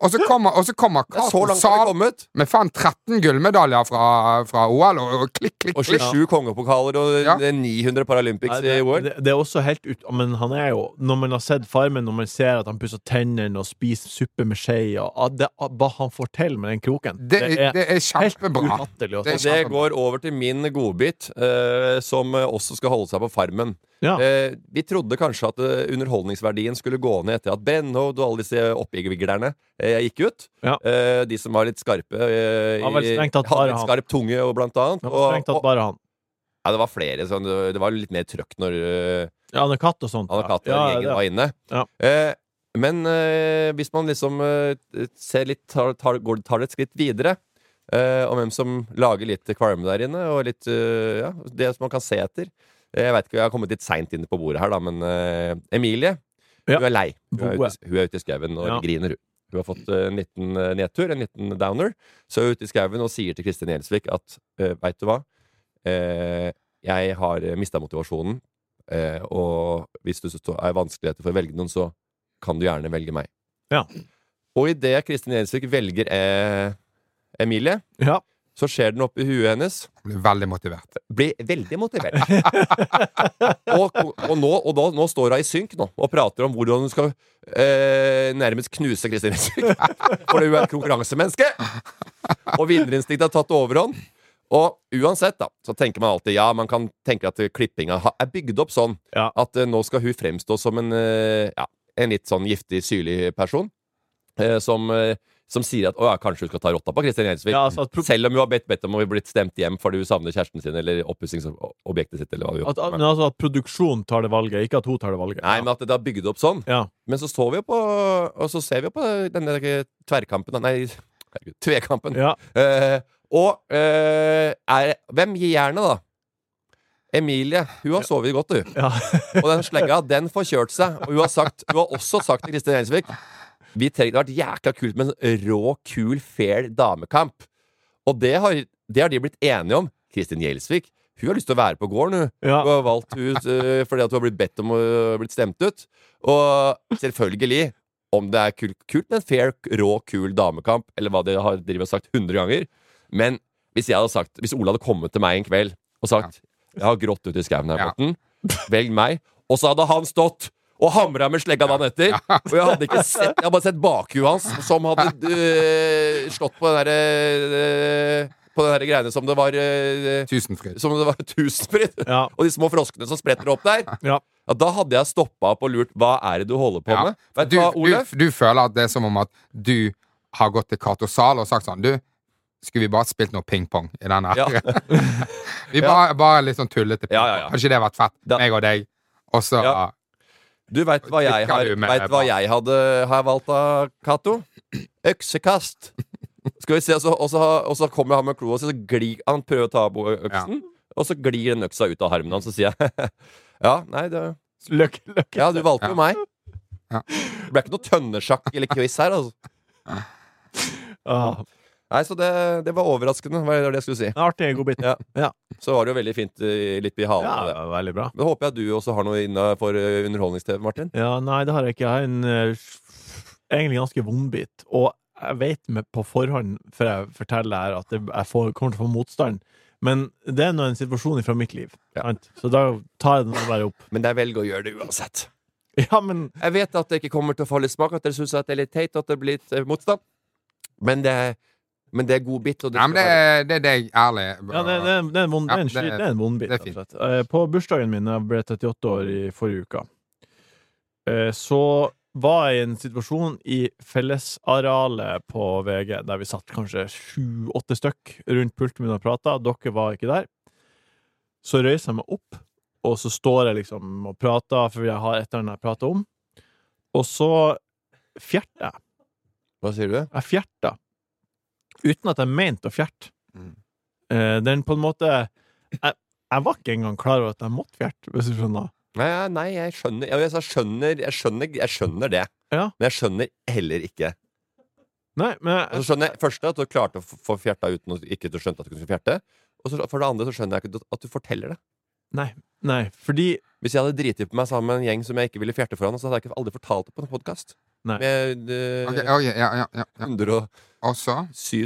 [SPEAKER 4] og så kommer, og så kommer
[SPEAKER 5] Det er så
[SPEAKER 4] Carsten
[SPEAKER 5] langt har vi
[SPEAKER 4] Saab
[SPEAKER 5] kommet.
[SPEAKER 4] med faen 13 gullmedaljer fra, fra OL, og, og klikk, klikk,
[SPEAKER 5] Og
[SPEAKER 4] klikk.
[SPEAKER 5] 27 kongepokaler og
[SPEAKER 4] Ja.
[SPEAKER 5] det er 900 Paralympics
[SPEAKER 2] Nei, det,
[SPEAKER 5] i OL.
[SPEAKER 2] det, det er også helt ut Men han er jo Når man har sett Farmen, når man ser at han pusser tennene og spiser suppe med skje og ah, det, ah, Hva han får til med den kroken,
[SPEAKER 4] Det, er- det er
[SPEAKER 2] helt
[SPEAKER 4] kjempebra.
[SPEAKER 2] ufattelig. å
[SPEAKER 4] Det er
[SPEAKER 2] se.
[SPEAKER 5] Og det
[SPEAKER 4] kjempebra.
[SPEAKER 5] går over til min godbit, eh, som eh, også skal holde seg på Farmen.
[SPEAKER 2] Ja.
[SPEAKER 5] Eh, vi trodde kanskje at eh, underholdningsverdien skulle gå ned etter at Brennhovd og alle disse oppviglerne eh, gikk ut.
[SPEAKER 2] Ja.
[SPEAKER 5] Eh, de som var litt skarpe. Eh,
[SPEAKER 2] Ja, vel, strengt tatt bare
[SPEAKER 5] hadde litt
[SPEAKER 2] han.
[SPEAKER 5] skarp tunge, og blant annet.
[SPEAKER 2] Det var
[SPEAKER 5] Og,
[SPEAKER 2] strengt tatt
[SPEAKER 5] og,
[SPEAKER 2] bare han.
[SPEAKER 5] ja, det var flere. Sånn, det var litt mer trøkk når eh,
[SPEAKER 2] Ja, han er katt og sånt.
[SPEAKER 5] han og
[SPEAKER 2] ja.
[SPEAKER 5] Katja og
[SPEAKER 2] Ja,
[SPEAKER 5] gjengen
[SPEAKER 2] det-
[SPEAKER 5] var inne.
[SPEAKER 2] Ja.
[SPEAKER 5] Eh, men eh, hvis man liksom eh, ser litt, tar, tar, går, tar det et skritt videre eh, om hvem som lager litt kvalme der inne, og litt eh, ja, det som man kan se etter Eh, Jeg vet ikke, jeg har kommet litt seint inn på bordet her, da, men eh, Emilie
[SPEAKER 2] Ja.
[SPEAKER 5] Hun er lei. Hun er
[SPEAKER 2] Boe.
[SPEAKER 5] ute, i- hun er ute i skauen og
[SPEAKER 2] Ja.
[SPEAKER 5] griner, hun. Hun har fått eh, en liten eh, nedtur, en liten downer. Så hun er ute i skauen og sier til Kristin Gjelsvik at uh, veit du hva, Eh, jeg har mista motivasjonen. Eh, og hvis du stå- er i vanskeligheter for å velge noen, så kan du gjerne velge meg.
[SPEAKER 2] Ja.
[SPEAKER 5] Og idet Kristin Gjelsvik velger eh, Emilie,
[SPEAKER 2] Ja.
[SPEAKER 5] så skjer den opp i huet hennes.
[SPEAKER 4] Blir veldig motivert.
[SPEAKER 5] Blir veldig motivert. og og, nå, og da, nå står hun i synk nå og prater om hvordan hun skal eh, nærmest knuse Kristin Gjelsvik. For hun er et konkurransemenneske. Og vinnerinstinktet har tatt overhånd. Og uansett, da, så tenker man alltid Ja, man kan tenke at klippinga ha- er bygd opp sånn
[SPEAKER 2] Ja.
[SPEAKER 5] at eh, nå skal hun fremstå som en, eh, ja, en litt sånn giftig, syrlig person. eh, som, eh, som sier at å ja, kanskje hun skal ta rotta på Kristin Gjelsvik.
[SPEAKER 2] Ja, altså at pro-
[SPEAKER 5] Selv om hun har bedt, bedt om å bli blitt stemt hjem fordi hun savner kjæresten sin eller oppussingsobjektet sitt. Eller hva hun
[SPEAKER 2] At,
[SPEAKER 5] gjør.
[SPEAKER 2] at, men altså at produksjonen tar det valget, ikke at hun tar det valget.
[SPEAKER 5] Nei, men at det har bygd opp sånn.
[SPEAKER 2] Ja.
[SPEAKER 5] Men så står vi jo på Og så ser vi jo på denne tverrkampen Nei, herregud, tvekampen.
[SPEAKER 2] Ja.
[SPEAKER 5] Eh, og eh, er, hvem gir jernet, da? Emilie. Hun har sovet godt, hun.
[SPEAKER 2] Ja.
[SPEAKER 5] Og den slegga, den får kjørt seg. Og hun har, sagt, hun har også sagt til Kristin Gjelsvik Vi trenger det har vært jækla kult med en rå, kul, fair damekamp. Og det har, det har de blitt enige om. Kristin Gjelsvik Hun har lyst til å være på gården, hun.
[SPEAKER 2] Ja.
[SPEAKER 5] Du har valgt ut eh, fordi at du har blitt bedt om å bli stemt ut. Og selvfølgelig, om det er kult, kult med en fair, rå, kul damekamp, eller hva de har drevet og sagt 100 ganger Men hvis jeg hadde sagt Hvis Ola hadde kommet til meg en kveld og sagt 'Jeg har grått ute i skauen her,
[SPEAKER 4] Ja.
[SPEAKER 5] Morten. Velg meg.' Og så hadde han stått og hamra med slegga dagen etter. Og jeg hadde ikke sett Jeg hadde bare sett bakhuet hans, som hadde øh, slått på den derre øh, På den derre greiene som det var øh,
[SPEAKER 4] Tusenfryd.
[SPEAKER 5] som om det var tusenfryd.
[SPEAKER 2] Ja.
[SPEAKER 5] Og de små froskene som spretter opp der.
[SPEAKER 2] Ja.
[SPEAKER 5] Ja, da hadde jeg stoppa opp og lurt hva er det du holder på
[SPEAKER 4] Ja.
[SPEAKER 5] med. Vet du
[SPEAKER 4] Du,
[SPEAKER 5] hva, Olef?
[SPEAKER 4] du, du føler at det er som om at du har gått til Cato Zahl og sagt sånn Du, skulle vi bare spilt noe pingpong i den her?
[SPEAKER 5] Ja.
[SPEAKER 4] vi bare, bare litt sånn tullete pingpong.
[SPEAKER 5] Ja, ja, ja.
[SPEAKER 4] Hadde ikke det vært fett?
[SPEAKER 5] Da-
[SPEAKER 4] Meg og deg. Og så
[SPEAKER 5] Ja. Du veit hva jeg har
[SPEAKER 4] Trykker du med
[SPEAKER 5] vet hva
[SPEAKER 4] epla?
[SPEAKER 5] jeg hadde har valgt av Cato? Øksekast. Skal vi se, og så, og så, og så kommer han med kloa si, så glir han prøver å ta av øksen. Og så glir den øksa ut av harmen hans, og så sier jeg Ja, nei, det,
[SPEAKER 2] Løkke, løkke.
[SPEAKER 5] ja, du valgte jo
[SPEAKER 4] Ja.
[SPEAKER 5] meg.
[SPEAKER 4] Ja.
[SPEAKER 5] Det ble ikke noe tønnesjakk eller quiz her, altså.
[SPEAKER 2] Ah.
[SPEAKER 5] Nei, så det, det var overraskende, var det jeg skulle si.
[SPEAKER 2] En artig godbit.
[SPEAKER 5] Ja. Så var det jo veldig fint eh, litt i halen.
[SPEAKER 2] Ja,
[SPEAKER 5] av
[SPEAKER 2] det
[SPEAKER 5] det.
[SPEAKER 2] var veldig bra.
[SPEAKER 5] Men håper jeg du også har noe innafor underholdnings-TV, Martin.
[SPEAKER 2] Ja, nei, det har jeg ikke. Jeg har en eh, egentlig ganske vondbit. Og jeg vet med på forhånd, før jeg forteller her, at det- jeg får, kommer til å få motstand. Men det er nå en situasjon fra mitt liv.
[SPEAKER 5] Ja.
[SPEAKER 2] Sant? Så da tar jeg den bare opp.
[SPEAKER 5] Men jeg velger å gjøre det uansett.
[SPEAKER 2] Ja, men
[SPEAKER 5] Jeg vet at det ikke kommer til å falle i smak, at dere syns det er litt teit, at det blir litt eh, motstand. Men det, er- men det er god bit. Og det
[SPEAKER 4] Nei, men det,
[SPEAKER 5] skal være-
[SPEAKER 4] er- det er deg, ærlig.
[SPEAKER 2] ja, det, det, det er en vond- det er en
[SPEAKER 4] Ja,
[SPEAKER 2] skit-
[SPEAKER 4] det-
[SPEAKER 2] det er en vondbit.
[SPEAKER 4] det er
[SPEAKER 2] rett og
[SPEAKER 4] fint.
[SPEAKER 2] slett. Eh, På bursdagen min da jeg ble 38 år i forrige uke, eh, så var i en situasjon i fellesarealet på VG, der vi satt kanskje sju-åtte stykk rundt pulten min og prata. Dere var ikke der. Så røyser jeg meg opp, og så står jeg liksom og prater, for jeg har et eller annet jeg prater om. Og så fjerter jeg.
[SPEAKER 5] Hva sier du?
[SPEAKER 2] Jeg fjerta. Uten at jeg mente å fjerte.
[SPEAKER 5] Mm.
[SPEAKER 2] Eh, den på en måte jeg, jeg var ikke engang klar over at jeg måtte fjerte, hvis du skjønner.
[SPEAKER 5] Nei, ja, nei jeg, skjønner, ja, jeg, skjønner, jeg skjønner Jeg skjønner det.
[SPEAKER 2] Ja.
[SPEAKER 5] Men jeg skjønner heller ikke.
[SPEAKER 2] Nei, men
[SPEAKER 5] Og så skjønner jeg først at du klarte å få- få fjerta uten å ikke du skjønte at du kunne fjerte. Og så, for det andre så skjønner jeg ikke at du forteller det.
[SPEAKER 2] nei, nei, fordi
[SPEAKER 5] Hvis jeg hadde driti på meg sammen med en gjeng som jeg ikke ville fjerte foran, så hadde jeg ikke aldri fortalt det på en podkast.
[SPEAKER 2] Nei.
[SPEAKER 5] Med eh,
[SPEAKER 4] Ok, ok, ja, ja, ja, ja.
[SPEAKER 5] 107
[SPEAKER 4] Og så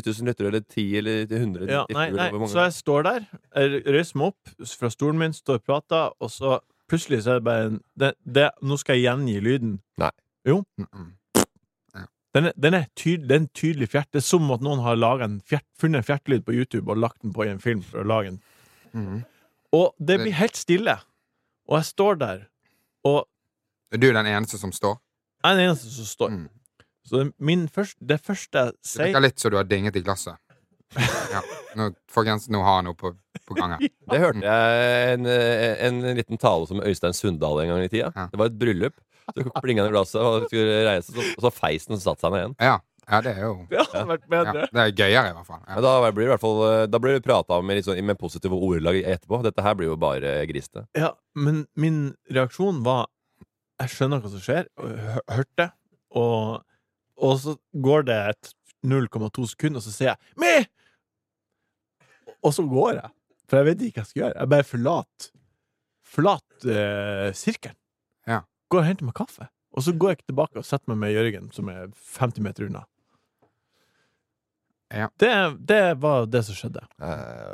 [SPEAKER 5] 000 lyttere, eller 10 eller 100
[SPEAKER 2] ja, nei, nei, Så jeg står der, jeg røyser meg opp fra stolen min, står og prater, og så plutselig så er det bare en det, det, Nå skal jeg gjengi lyden.
[SPEAKER 4] mm, mm.
[SPEAKER 2] Den er, den er, tyd, det er en tydelig fjert. Det er som at noen har laget en fjert, funnet en fjertelyd på YouTube og lagt den på i en film for å lage en
[SPEAKER 4] Mm.
[SPEAKER 2] Og det blir helt stille. Og jeg står der, og
[SPEAKER 4] Er du den eneste som står?
[SPEAKER 2] jeg er den eneste som står.
[SPEAKER 4] Mm.
[SPEAKER 2] Så det, min først, det første jeg
[SPEAKER 4] Det virker
[SPEAKER 2] sier
[SPEAKER 4] litt så du har dinget i glasset. Ja. Nå, folkens, nå har jeg noe på, på gang her.
[SPEAKER 5] Det hørte jeg en, eh, en liten tale som Øystein Sundal en gang i tida.
[SPEAKER 4] Ja.
[SPEAKER 5] Det var et bryllup. Så plinga det i glasset, og han skulle reise, så, og så feis den, og så satte seg ned igjen.
[SPEAKER 4] Ja, ja det er jo
[SPEAKER 2] Det hadde vært
[SPEAKER 4] ja,
[SPEAKER 2] bedre.
[SPEAKER 4] Det er gøyere, i hvert fall. Ja.
[SPEAKER 5] Men da blir det i hvert fall eh, Da blir det prata med, litt sånn, med positive ordelag etterpå. Dette her blir jo bare grisete.
[SPEAKER 2] Ja, men min reaksjon var Jeg skjønner hva som skjer, og jeg hø- hørte det, og, og så går det et 0,2 sekunder, og så sier jeg 'me!' Og så går jeg. For jeg vet ikke hva jeg skal gjøre. Jeg bare forlater forlat, eh, sirkelen.
[SPEAKER 4] Ja.
[SPEAKER 2] Går og henter meg kaffe. Og så går jeg ikke tilbake og setter meg med Jørgen, som er 50 meter unna.
[SPEAKER 4] Ja.
[SPEAKER 2] Det, det var det som skjedde.
[SPEAKER 5] Eh,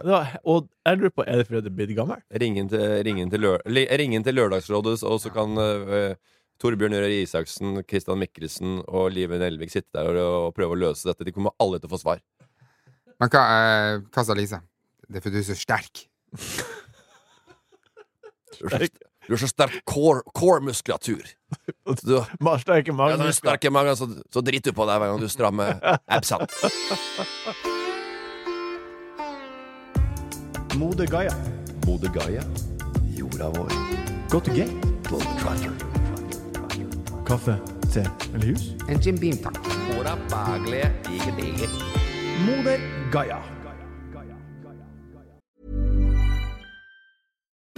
[SPEAKER 2] Det var, og jeg lurer på, er det fordi jeg er blitt gammel?
[SPEAKER 5] Ring inn til, ring inn til, lø, li- ring inn til Lørdagsrådet, og så kan eh, Torbjørn Røe Isaksen, Christian Mikkelsen og Live Nelvik sitte der og, og prøve å løse dette. De kommer alle til å få svar.
[SPEAKER 4] Men hva, eh, hva sa Lise? Det er fordi du er så sterk.
[SPEAKER 5] Du er så- du har så sterk core- core-muskulatur. Du,
[SPEAKER 2] Marstad er ikke
[SPEAKER 5] Ja,
[SPEAKER 2] mange
[SPEAKER 5] når du snakker i magen, så, så driter du på deg hver gang du strammer absene.
[SPEAKER 2] Modegaia.
[SPEAKER 5] Bodø Gaia, jorda vår.
[SPEAKER 2] Gå til gate. Kaffe, te eller jus?
[SPEAKER 4] En Jim Beam, takk.
[SPEAKER 2] Modegaia.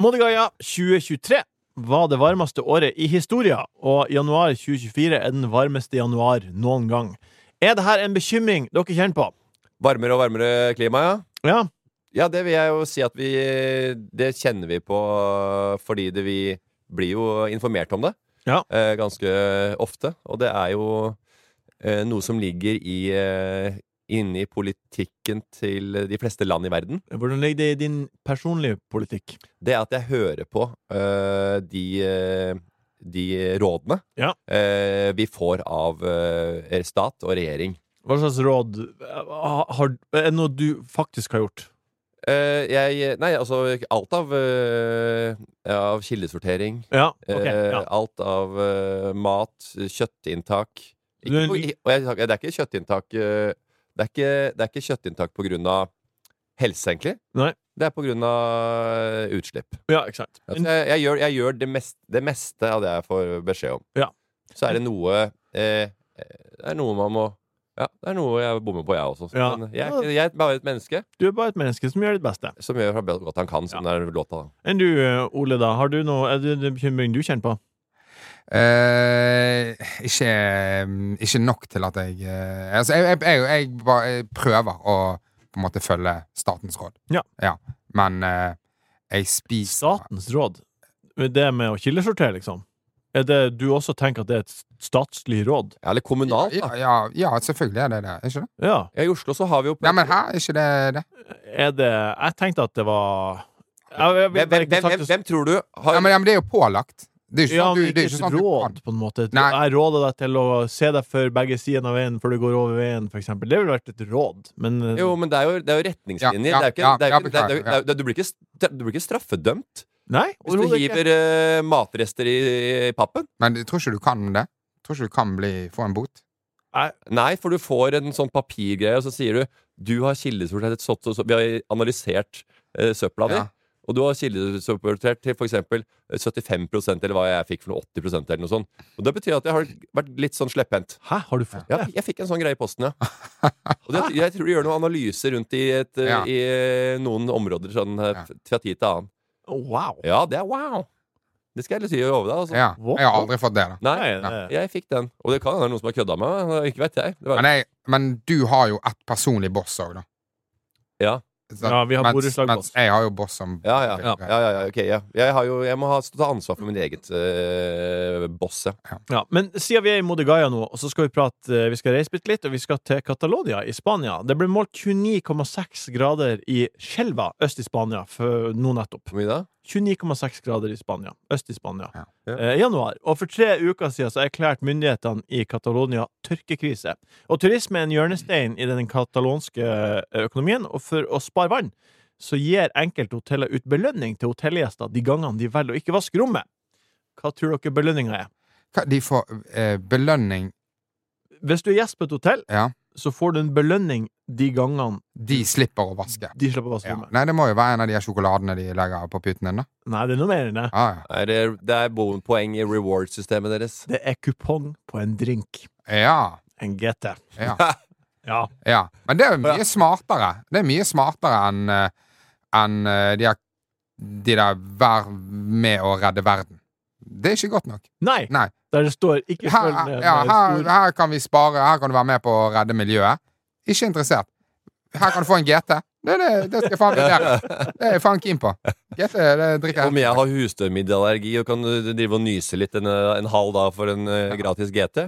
[SPEAKER 2] Modegaia 2023 var det varmeste året i historien, og januar 2024 er den varmeste januar noen gang. Er dette en bekymring dere kjenner på?
[SPEAKER 5] Varmere og varmere klima, ja.
[SPEAKER 2] Ja.
[SPEAKER 5] Ja, det vil jeg jo si at vi Det kjenner vi på fordi det vi blir jo informert om det
[SPEAKER 2] Ja.
[SPEAKER 5] eh, ganske ofte. Og det er jo eh, noe som ligger i eh, Inni politikken til de fleste land i verden.
[SPEAKER 2] Hvordan ligger det i din personlige politikk?
[SPEAKER 5] Det er at jeg hører på eh, de, eh, de rådene
[SPEAKER 2] Ja.
[SPEAKER 5] eh, vi får av eh, stat og regjering.
[SPEAKER 2] Hva slags råd eh, har, er det noe du faktisk har gjort?
[SPEAKER 5] Eh, jeg Nei, altså alt av, eh, av kildesortering.
[SPEAKER 2] Ja,
[SPEAKER 5] eh, Alt av eh, mat, kjøttinntak.
[SPEAKER 2] Du er
[SPEAKER 5] Ikke
[SPEAKER 2] en
[SPEAKER 5] på,
[SPEAKER 2] li-
[SPEAKER 5] og jeg, det er ikke kjøttinntak eh, Det er ikke, det er ikke kjøttinntak på grunn av helse, egentlig.
[SPEAKER 2] Nei.
[SPEAKER 5] Det er på grunn av eh, utslipp.
[SPEAKER 2] ja ikke sant.
[SPEAKER 5] Altså, jeg, jeg gjør, jeg gjør det, mest, det meste av det jeg får beskjed om.
[SPEAKER 2] Ja.
[SPEAKER 5] Så er det noe eh, Det er noe man må Ja, det er noe jeg bommer på, jeg også.
[SPEAKER 2] Ja.
[SPEAKER 5] Men jeg, er ikke- jeg er bare et menneske
[SPEAKER 2] Du er bare et menneske som gjør ditt beste.
[SPEAKER 5] som gjør så godt han kan, som den låta. da.
[SPEAKER 2] Enn du, eh, Ole, da? Har du noe, er det en bekymring du kjenner på?
[SPEAKER 4] Eh, ikke, ikke nok til at jeg eh, Altså, jeg, jeg, jeg, jeg, bare, jeg prøver å på en måte følge statens råd.
[SPEAKER 2] Ja.
[SPEAKER 4] Men eh, jeg spiser
[SPEAKER 2] Statens råd. det med å kildesortere, liksom? Er det du også tenker at det er et statslig råd?
[SPEAKER 5] Ja, eller kommunalt,
[SPEAKER 4] Ja,
[SPEAKER 5] da.
[SPEAKER 4] ja, ja, selvfølgelig er det det. Er ikke det?
[SPEAKER 2] Ja.
[SPEAKER 5] Ja, I Oslo så har vi jo
[SPEAKER 4] Ja, men her er ikke det det.
[SPEAKER 2] Er det Jeg tenkte at det var jeg, jeg, vil
[SPEAKER 5] hvem, hvem,
[SPEAKER 2] bare ikke
[SPEAKER 5] hvem,
[SPEAKER 2] sagt
[SPEAKER 5] hvem,
[SPEAKER 2] det-
[SPEAKER 5] hvem tror du har
[SPEAKER 4] Ja, men, ja, men det er jo pålagt. Det er ikke
[SPEAKER 2] Ja,
[SPEAKER 4] sånn
[SPEAKER 2] men
[SPEAKER 4] at du, det
[SPEAKER 2] ikke
[SPEAKER 4] er ikke
[SPEAKER 2] et
[SPEAKER 4] sånn at du kan.
[SPEAKER 2] råd, på en måte.
[SPEAKER 4] Nei.
[SPEAKER 2] Jeg råder deg til å se deg for begge sidene av veien før du går over veien, for eksempel. Det ville vært et råd, men
[SPEAKER 5] Jo, men det er jo, det er jo retningslinjer.
[SPEAKER 4] Ja,
[SPEAKER 5] Det er jo ikke-
[SPEAKER 4] ja,
[SPEAKER 5] det er jo
[SPEAKER 4] ja,
[SPEAKER 5] ikke- det er- det er-
[SPEAKER 4] beklager, ja.
[SPEAKER 5] det er- Du blir ikke stra- du blir ikke straffedømt
[SPEAKER 2] Nei,
[SPEAKER 5] hvis du
[SPEAKER 2] overhodet ikke.
[SPEAKER 5] hiver eh, matrester i, i pappen.
[SPEAKER 4] Men jeg tror ikke du kan det. Jeg tror ikke du kan bli, få en bot.
[SPEAKER 5] Nei, for du får en sånn papirgreie, og så sier du Du har kildesortert sånn så, så, Vi har analysert eh, søpla di.
[SPEAKER 4] Ja.
[SPEAKER 5] Og du har kildesortert til f.eks. 75 eller hva jeg fikk for noe 80 eller noe sånt. Og Det betyr at jeg har vært litt sånn slepphendt.
[SPEAKER 2] Hæ, har du fått
[SPEAKER 5] Ja, jeg fikk en sånn greie i posten, ja. Og det, jeg tror de gjør noen analyser rundt i, et, eh,
[SPEAKER 4] Ja.
[SPEAKER 5] i eh, noen områder sånn eh,
[SPEAKER 4] Ja.
[SPEAKER 5] fra tid til annen.
[SPEAKER 2] Wow.
[SPEAKER 5] Ja, det er wow! Det skal jeg heller si over deg. Altså.
[SPEAKER 4] Ja.
[SPEAKER 2] Hva?
[SPEAKER 4] Jeg har aldri fått det, da.
[SPEAKER 5] Nei,
[SPEAKER 2] Nei, det-
[SPEAKER 5] jeg fikk den. Og det kan hende det er noen som har kødda med meg. Ikke vet jeg. Det var,
[SPEAKER 4] Men, jeg, men du har jo ett personlig boss òg, da.
[SPEAKER 5] ja.
[SPEAKER 4] Så-
[SPEAKER 2] Ja, vi har
[SPEAKER 4] mens-
[SPEAKER 2] borettslag
[SPEAKER 4] mens
[SPEAKER 2] boss.
[SPEAKER 4] Jeg har jo boss som
[SPEAKER 5] Ja, ja, ja, ja, ja, ok, ja. Jeg, har jo, jeg må ha, ta ansvar for min eget uh, boss, ja.
[SPEAKER 2] Ja, men siden vi er i Modigaya nå, og så skal vi prate eh, Vi skal reise bitte litt, og vi skal til Catalonia i Spania. Det ble målt 29,6 grader i Skjelva øst i Spania for, nå nettopp.
[SPEAKER 5] Hvor mye da?
[SPEAKER 2] 29,6 grader i Spania, øst i Spania,
[SPEAKER 4] Ja.
[SPEAKER 5] Ja.
[SPEAKER 2] eh, i januar. Og for tre uker siden så erklærte myndighetene i Catalonia tørkekrise. Og turisme er en hjørnestein i den katalonske eh, økonomien, og for å spare vann så gir enkelte hoteller ut belønning til hotellgjester de gangene de velger å ikke vaske rommet. Hva tror dere belønninga er?
[SPEAKER 4] Hva, De får eh, belønning
[SPEAKER 2] Hvis du er gjest på et hotell,
[SPEAKER 4] Ja.
[SPEAKER 2] så får du en belønning de gangene
[SPEAKER 4] De slipper å vaske.
[SPEAKER 2] Mm. de slipper å vaske
[SPEAKER 4] Ja.
[SPEAKER 2] rommet.
[SPEAKER 4] Nei, det må jo være en av de her sjokoladene de legger på puten din, da.
[SPEAKER 2] Nei, det er noe mer enn det.
[SPEAKER 4] Ja, ja.
[SPEAKER 5] Er det, det er bo- poeng i reward-systemet deres.
[SPEAKER 2] Det er kupong på en drink.
[SPEAKER 4] Ja,
[SPEAKER 2] En GT.
[SPEAKER 4] ja,
[SPEAKER 2] Ja.
[SPEAKER 4] ja. Men det er jo
[SPEAKER 5] Ja.
[SPEAKER 4] mye smartere. Det er mye smartere enn eh, enn, eh, de, her- de der 'vær med å redde verden'. Det er ikke godt nok.
[SPEAKER 2] Nei!
[SPEAKER 4] Nei.
[SPEAKER 2] Der det står 'ikke
[SPEAKER 4] Her,
[SPEAKER 2] følg med'. med
[SPEAKER 4] ja, her,
[SPEAKER 2] stor-
[SPEAKER 4] her kan vi spare, her kan du være med på å redde miljøet. Ikke interessert. Her kan du få en GT. Det, det, det skal jeg faen vurdere. Det er jeg faen keen på. GT, det drikker
[SPEAKER 5] Om
[SPEAKER 4] jeg.
[SPEAKER 5] jeg har husstøvmiddelallergi og kan eh, drive og nyse litt en, eh, en halv dag for en eh, gratis GT?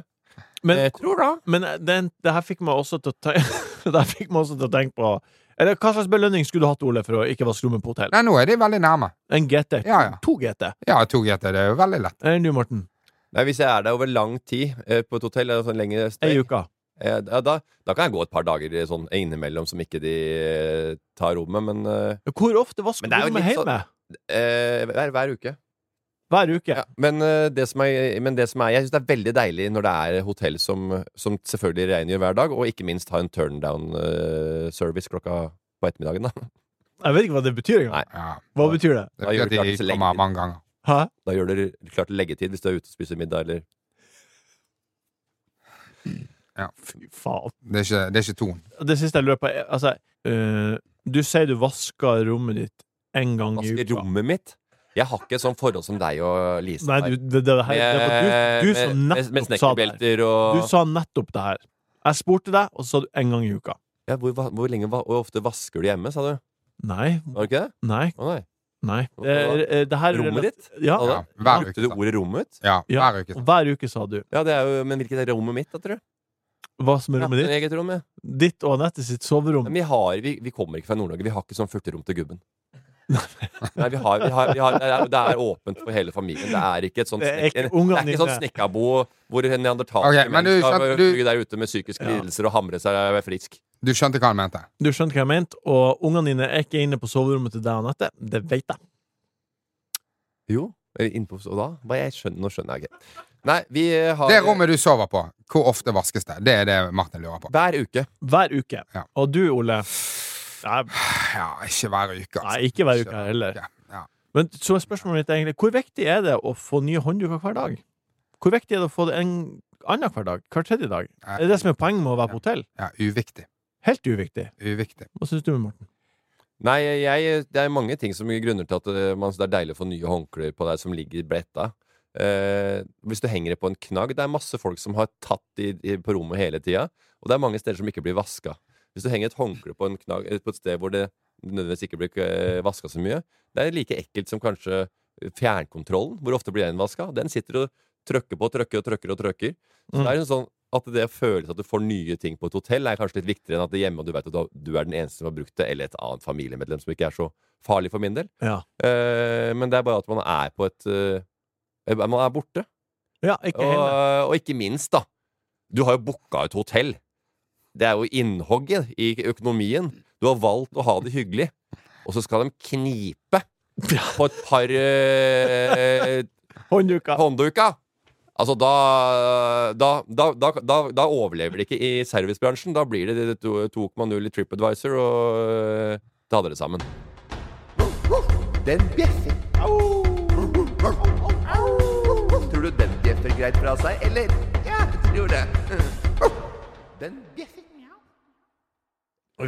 [SPEAKER 2] Men,
[SPEAKER 5] jeg tror da.
[SPEAKER 2] men eh, den, det her fikk meg også til å te- Det her fikk meg også til å tenke på Eller hva slags belønning skulle du hatt, Ole, for å ikke vaske rommet på hotell?
[SPEAKER 4] Nei, nå er de veldig nærme.
[SPEAKER 2] En GT.
[SPEAKER 4] Ja, ja.
[SPEAKER 2] To GT.
[SPEAKER 4] Ja, to GT, det er jo veldig lett.
[SPEAKER 2] Enn du, Morten?
[SPEAKER 5] Nei, Hvis jeg er der over lang tid eh, på et hotell, eller sånn lengre
[SPEAKER 2] Ei
[SPEAKER 5] strekk,
[SPEAKER 2] uke.
[SPEAKER 5] eh, da, da, da kan jeg gå et par dager eh, sånn innimellom som ikke de eh, tar rommet, men eh,
[SPEAKER 2] Hvor ofte vasker
[SPEAKER 5] Men
[SPEAKER 2] du
[SPEAKER 5] det er jo
[SPEAKER 2] rommet
[SPEAKER 5] litt sånn-
[SPEAKER 2] hjemme?
[SPEAKER 5] eh, hver, hver uke.
[SPEAKER 2] Hver uke?
[SPEAKER 5] Ja, men, eh, det som er, men det som er Jeg syns det er veldig deilig når det er hotell som, som selvfølgelig rengjør hver dag, og ikke minst ha en turndown-service klokka på ettermiddagen. Da.
[SPEAKER 2] Jeg vet ikke hva det betyr engang.
[SPEAKER 5] Nei.
[SPEAKER 4] Ja,
[SPEAKER 2] Hva betyr det?
[SPEAKER 5] Da
[SPEAKER 4] det betyr
[SPEAKER 5] gjør
[SPEAKER 4] at
[SPEAKER 5] det gratis
[SPEAKER 4] de
[SPEAKER 5] lenge.
[SPEAKER 4] kommer mange ganger.
[SPEAKER 2] Hæ?
[SPEAKER 5] da gjør det klart leggetid hvis du er ute og spiser middag, eller
[SPEAKER 2] Fy faen.
[SPEAKER 4] Det er ikke, det er ikke ton.
[SPEAKER 2] Det siste jeg lurer på er altså, eh, Du sier du vasker rommet ditt en gang i
[SPEAKER 5] vasker
[SPEAKER 2] uka.
[SPEAKER 5] rommet mitt. Jeg har ikke et sånt forhold som deg og Lise. Eh,
[SPEAKER 2] Nei, du, det, det, her, det var du, du som
[SPEAKER 5] med, med, med
[SPEAKER 2] nettopp sa det her.
[SPEAKER 5] snekkerbelter og
[SPEAKER 2] Du sa nettopp det her. Jeg spurte deg, og så sa du en gang i uka.
[SPEAKER 5] ja, hvor, va- hvor lenge va- og ofte vasker du hjemme, sa du?
[SPEAKER 2] Nei,
[SPEAKER 5] Var det ikke det?
[SPEAKER 2] nei,
[SPEAKER 5] Å nei.
[SPEAKER 2] nei. Det, er- det her er
[SPEAKER 5] Rommet ditt?
[SPEAKER 2] Ja.
[SPEAKER 5] Alle?
[SPEAKER 4] Ja, hver
[SPEAKER 5] Brukte
[SPEAKER 4] uke.
[SPEAKER 5] du
[SPEAKER 4] sant.
[SPEAKER 5] ordet 'rommet mitt'?
[SPEAKER 4] Ja,
[SPEAKER 2] ja.
[SPEAKER 4] hver uke.
[SPEAKER 2] Og
[SPEAKER 4] sant.
[SPEAKER 2] hver uke sa du
[SPEAKER 5] Ja, det er jo, Men hvilket er rommet mitt, da, tror du?
[SPEAKER 2] hva som er
[SPEAKER 5] Ja,
[SPEAKER 2] rommet ditt.
[SPEAKER 5] eget rom, ja.
[SPEAKER 2] Ditt og Anette sitt soverom.
[SPEAKER 5] Men vi, har, vi, vi kommer ikke fra Nord-Norge. Vi har ikke sånn furterom til gubben. Nei, vi har, vi har, vi har, det, er, det er åpent for hele familien. Det er ikke et sånt
[SPEAKER 2] Det er
[SPEAKER 5] snek-
[SPEAKER 2] ikke
[SPEAKER 5] en-
[SPEAKER 2] ungene
[SPEAKER 5] det er ikke sånn
[SPEAKER 2] dine.
[SPEAKER 5] snekkabo hvor en neandertaler
[SPEAKER 4] Ok, men du
[SPEAKER 5] skal
[SPEAKER 4] skjønte- du-
[SPEAKER 5] ligge der ute med psykiske
[SPEAKER 2] Ja.
[SPEAKER 5] lidelser og hamre seg og være frisk.
[SPEAKER 4] Du skjønte hva han mente?
[SPEAKER 2] Du skjønte hva jeg mente, og ungene dine er ikke inne på soverommet til deg og Anette. Det vet jeg.
[SPEAKER 5] Jo. Eller Eh, innpå Og da? Hva jeg skjønner, nå skjønner jeg ikke. Nei, vi eh, har
[SPEAKER 4] Det rommet du sover på, hvor ofte vaskes det? Det er det Martin lurer på.
[SPEAKER 5] Hver uke.
[SPEAKER 2] Hver uke.
[SPEAKER 4] Ja.
[SPEAKER 2] Og du, Ole Nei,
[SPEAKER 4] Ja, ikke hver uke, altså.
[SPEAKER 2] nei ikke hver uke heller.
[SPEAKER 4] Ja, ja.
[SPEAKER 2] Men så er spørsmålet mitt egentlig Hvor viktig er det å få nye håndduker hver dag? Hvor viktig er det å få det en annen hver dag? Hver tredje dag?
[SPEAKER 4] Nei.
[SPEAKER 2] Er det det som er poenget med å være på hotell?
[SPEAKER 4] ja, uviktig.
[SPEAKER 2] Helt uviktig.
[SPEAKER 4] Uviktig.
[SPEAKER 2] Hva syns du, Morten?
[SPEAKER 5] Nei, jeg, det er mange ting som gir grunner til at eh, man, det er deilig å få nye håndklær på deg som ligger bletta. Eh, hvis du henger det på en knagg Det er masse folk som har tatt i, i, på rommet hele tida. Og det er mange steder som ikke blir vaska. Hvis du henger et håndkle på, en knagg, eh, på et sted hvor det nødvendigvis ikke blir eh, vaska så mye, det er like ekkelt som kanskje fjernkontrollen, hvor ofte blir den vaska, den sitter og trykker på og trykker og trykker. og trykker. Så det er liksom sånn at det føles at du får nye ting på et hotell, er kanskje litt viktigere enn at det er hjemme og du vet at du- du er den eneste som har brukt det, eller et annet familiemedlem som ikke er så farlig for min del.
[SPEAKER 2] Ja.
[SPEAKER 5] Eh, men det er bare at man er på et eh, Man er borte.
[SPEAKER 2] ja, ikke
[SPEAKER 5] Og,
[SPEAKER 2] hele.
[SPEAKER 5] og ikke minst, da. Du har jo booka et hotell. Det er jo innhogget i økonomien. Du har valgt å ha det hyggelig, og så skal de knipe på et par eh,
[SPEAKER 2] Håndduka.
[SPEAKER 5] håndduka. Altså, da da, da, da, da da overlever de ikke i servicebransjen. Da blir det 2,0 i TripAdvisor, og eh, da hadde det sammen.
[SPEAKER 3] Den bjeffer. Tror du den bjeffer greit fra seg, eller? Ja, jeg tror det. Den bjeffer.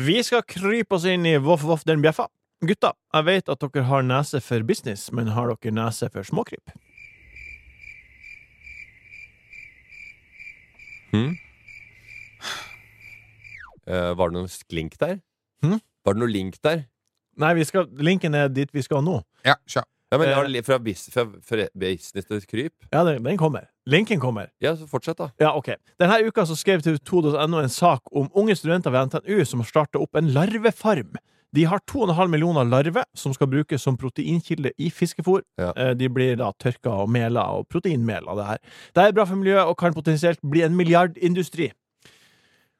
[SPEAKER 2] Vi skal krype oss inn i Voff Voff den bjeffa. Gutta, jeg vet at dere har nese for business, men har dere nese for småkryp?
[SPEAKER 5] Eh, var det noen link der?
[SPEAKER 2] Hm?
[SPEAKER 5] Var det noen link der?
[SPEAKER 2] Nei, vi skal, linken er dit vi skal nå.
[SPEAKER 4] Ja, kjør.
[SPEAKER 5] Ja, men jeg har
[SPEAKER 2] Eh.
[SPEAKER 5] li- fra, bis, fra, fra business til kryp?
[SPEAKER 2] Ja, den, den kommer. Linken kommer.
[SPEAKER 5] Ja, så fortsett, da.
[SPEAKER 2] Ja, ok. Denne uka så skrev tv2.no en sak om unge studenter ved NTNU som har starta opp en larvefarm. De har 2,5 millioner larver som skal brukes som proteinkilde i fiskefôr.
[SPEAKER 5] Ja.
[SPEAKER 2] Eh, De blir da tørka og mela og proteinmel av det her. Det er bra for miljøet og kan potensielt bli en milliardindustri.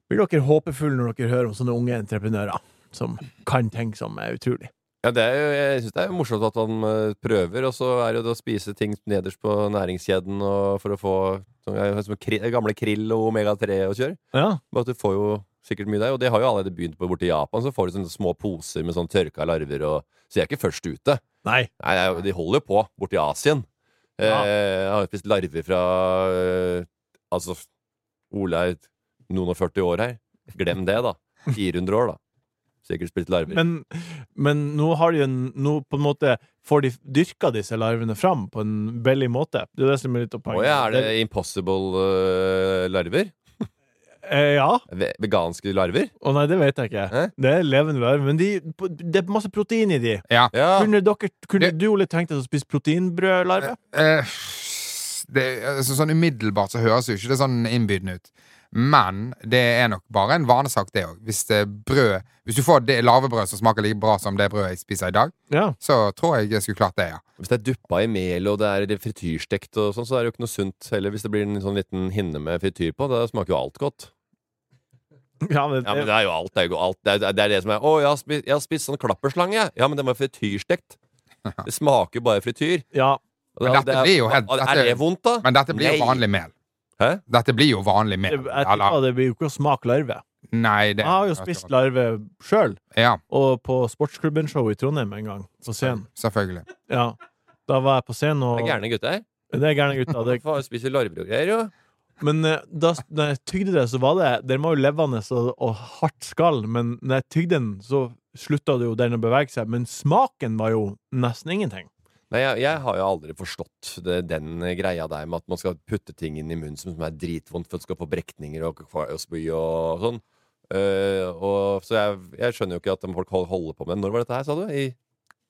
[SPEAKER 2] Blir dere håpefulle når dere hører om sånne unge entreprenører som kan ting som er utrolig?
[SPEAKER 5] Ja, det er jo, jeg syns det er jo morsomt at han eh, prøver, og så er det jo det å spise ting nederst på næringskjeden og for å få sånn, ja, som kri, gamle krill og omega-3 og kjør.
[SPEAKER 2] Ja.
[SPEAKER 5] Bare at du får jo sikkert mye der, og det har jo allerede begynt på borte i Japan. Så får du sånne små poser med sånn tørka larver og Så jeg er ikke først ute.
[SPEAKER 2] Nei.
[SPEAKER 5] Nei, nei, de holder jo på borti Asien. Eh,
[SPEAKER 2] Ja.
[SPEAKER 5] jeg har jo spist larver fra eh, Altså, Ole er noen og 40 år her. Glem det, da. 400 år, da. Sikkert spist larver.
[SPEAKER 2] Men, men nå har de en, nå på en måte får de dyrka disse larvene fram på en billig måte. Det er det som er litt av
[SPEAKER 5] Å
[SPEAKER 2] poenget.
[SPEAKER 5] ja, er det Impossible eh, larver?
[SPEAKER 2] Eh, ja.
[SPEAKER 5] Ve veganske larver?
[SPEAKER 2] Å nei, det vet jeg ikke.
[SPEAKER 5] Hæ?
[SPEAKER 2] Det er levende larver. Men de, på- det er masse protein i de.
[SPEAKER 4] Ja.
[SPEAKER 5] Ja.
[SPEAKER 2] Kunne, dere, kunne
[SPEAKER 4] Det-
[SPEAKER 2] du, Ole, tenkt deg å spise proteinbrødlarve?
[SPEAKER 4] Eh, det, altså, sånn umiddelbart så høres jo ikke det sånn innbydende ut. Men det er nok bare en vanesak, det òg. Hvis, det brød- hvis du får det lavebrød som smaker like bra som det brødet jeg spiser i dag,
[SPEAKER 2] Ja.
[SPEAKER 4] så tror jeg jeg skulle klart det, ja.
[SPEAKER 5] Hvis det er duppa i mel og det er det frityrstekt, og sånn, så er det jo ikke noe sunt heller. Hvis det blir en sånn liten hinne med frityr på, da smaker jo alt godt.
[SPEAKER 2] Ja, men,
[SPEAKER 5] Ja, men det er jo alt. Det er, jo alt. Det, er, det, er det som er Å, jeg har, spist, jeg har spist sånn klapperslange. jeg.» Ja, men den var frityrstekt. Det smaker jo bare frityr.
[SPEAKER 2] ja.
[SPEAKER 5] Og
[SPEAKER 4] Men dette
[SPEAKER 5] det er,
[SPEAKER 4] blir jo helt-
[SPEAKER 5] Er,
[SPEAKER 4] dette-
[SPEAKER 5] det vondt, da?
[SPEAKER 4] Men dette blir jo
[SPEAKER 5] Nei.
[SPEAKER 4] vanlig mel.
[SPEAKER 5] Hæ?
[SPEAKER 4] Dette blir jo vanlig mel.
[SPEAKER 2] Jeg tipper
[SPEAKER 4] Eller,
[SPEAKER 2] det blir jo ikke å smake larve.
[SPEAKER 4] nei, det
[SPEAKER 2] Jeg har jo spist larve sjøl,
[SPEAKER 4] Ja,
[SPEAKER 2] og på Sportsklubben-show i Trondheim en gang, på scenen.
[SPEAKER 4] selvfølgelig.
[SPEAKER 2] Ja. Da var jeg på scenen,
[SPEAKER 5] Det er
[SPEAKER 2] og
[SPEAKER 5] gærne gutter.
[SPEAKER 2] Det er gærne gutter. Det,
[SPEAKER 5] Faen, spiser larver og greier, jo.
[SPEAKER 2] Men eh, da når jeg tygde det, så var det Den var jo levende og, og hardt skall, men når jeg tygde den, så slutta det jo den å bevege seg. Men smaken var jo nesten ingenting.
[SPEAKER 5] Nei, jeg, jeg har jo aldri forstått det, den greia der med at man skal putte ting inn i munnen som, som er dritvondt for at du skal få brekninger og kvalsby og sånn. Eh, og, så jeg, jeg skjønner jo ikke at de folk hold- holder på med det. Når var dette her, sa du? I,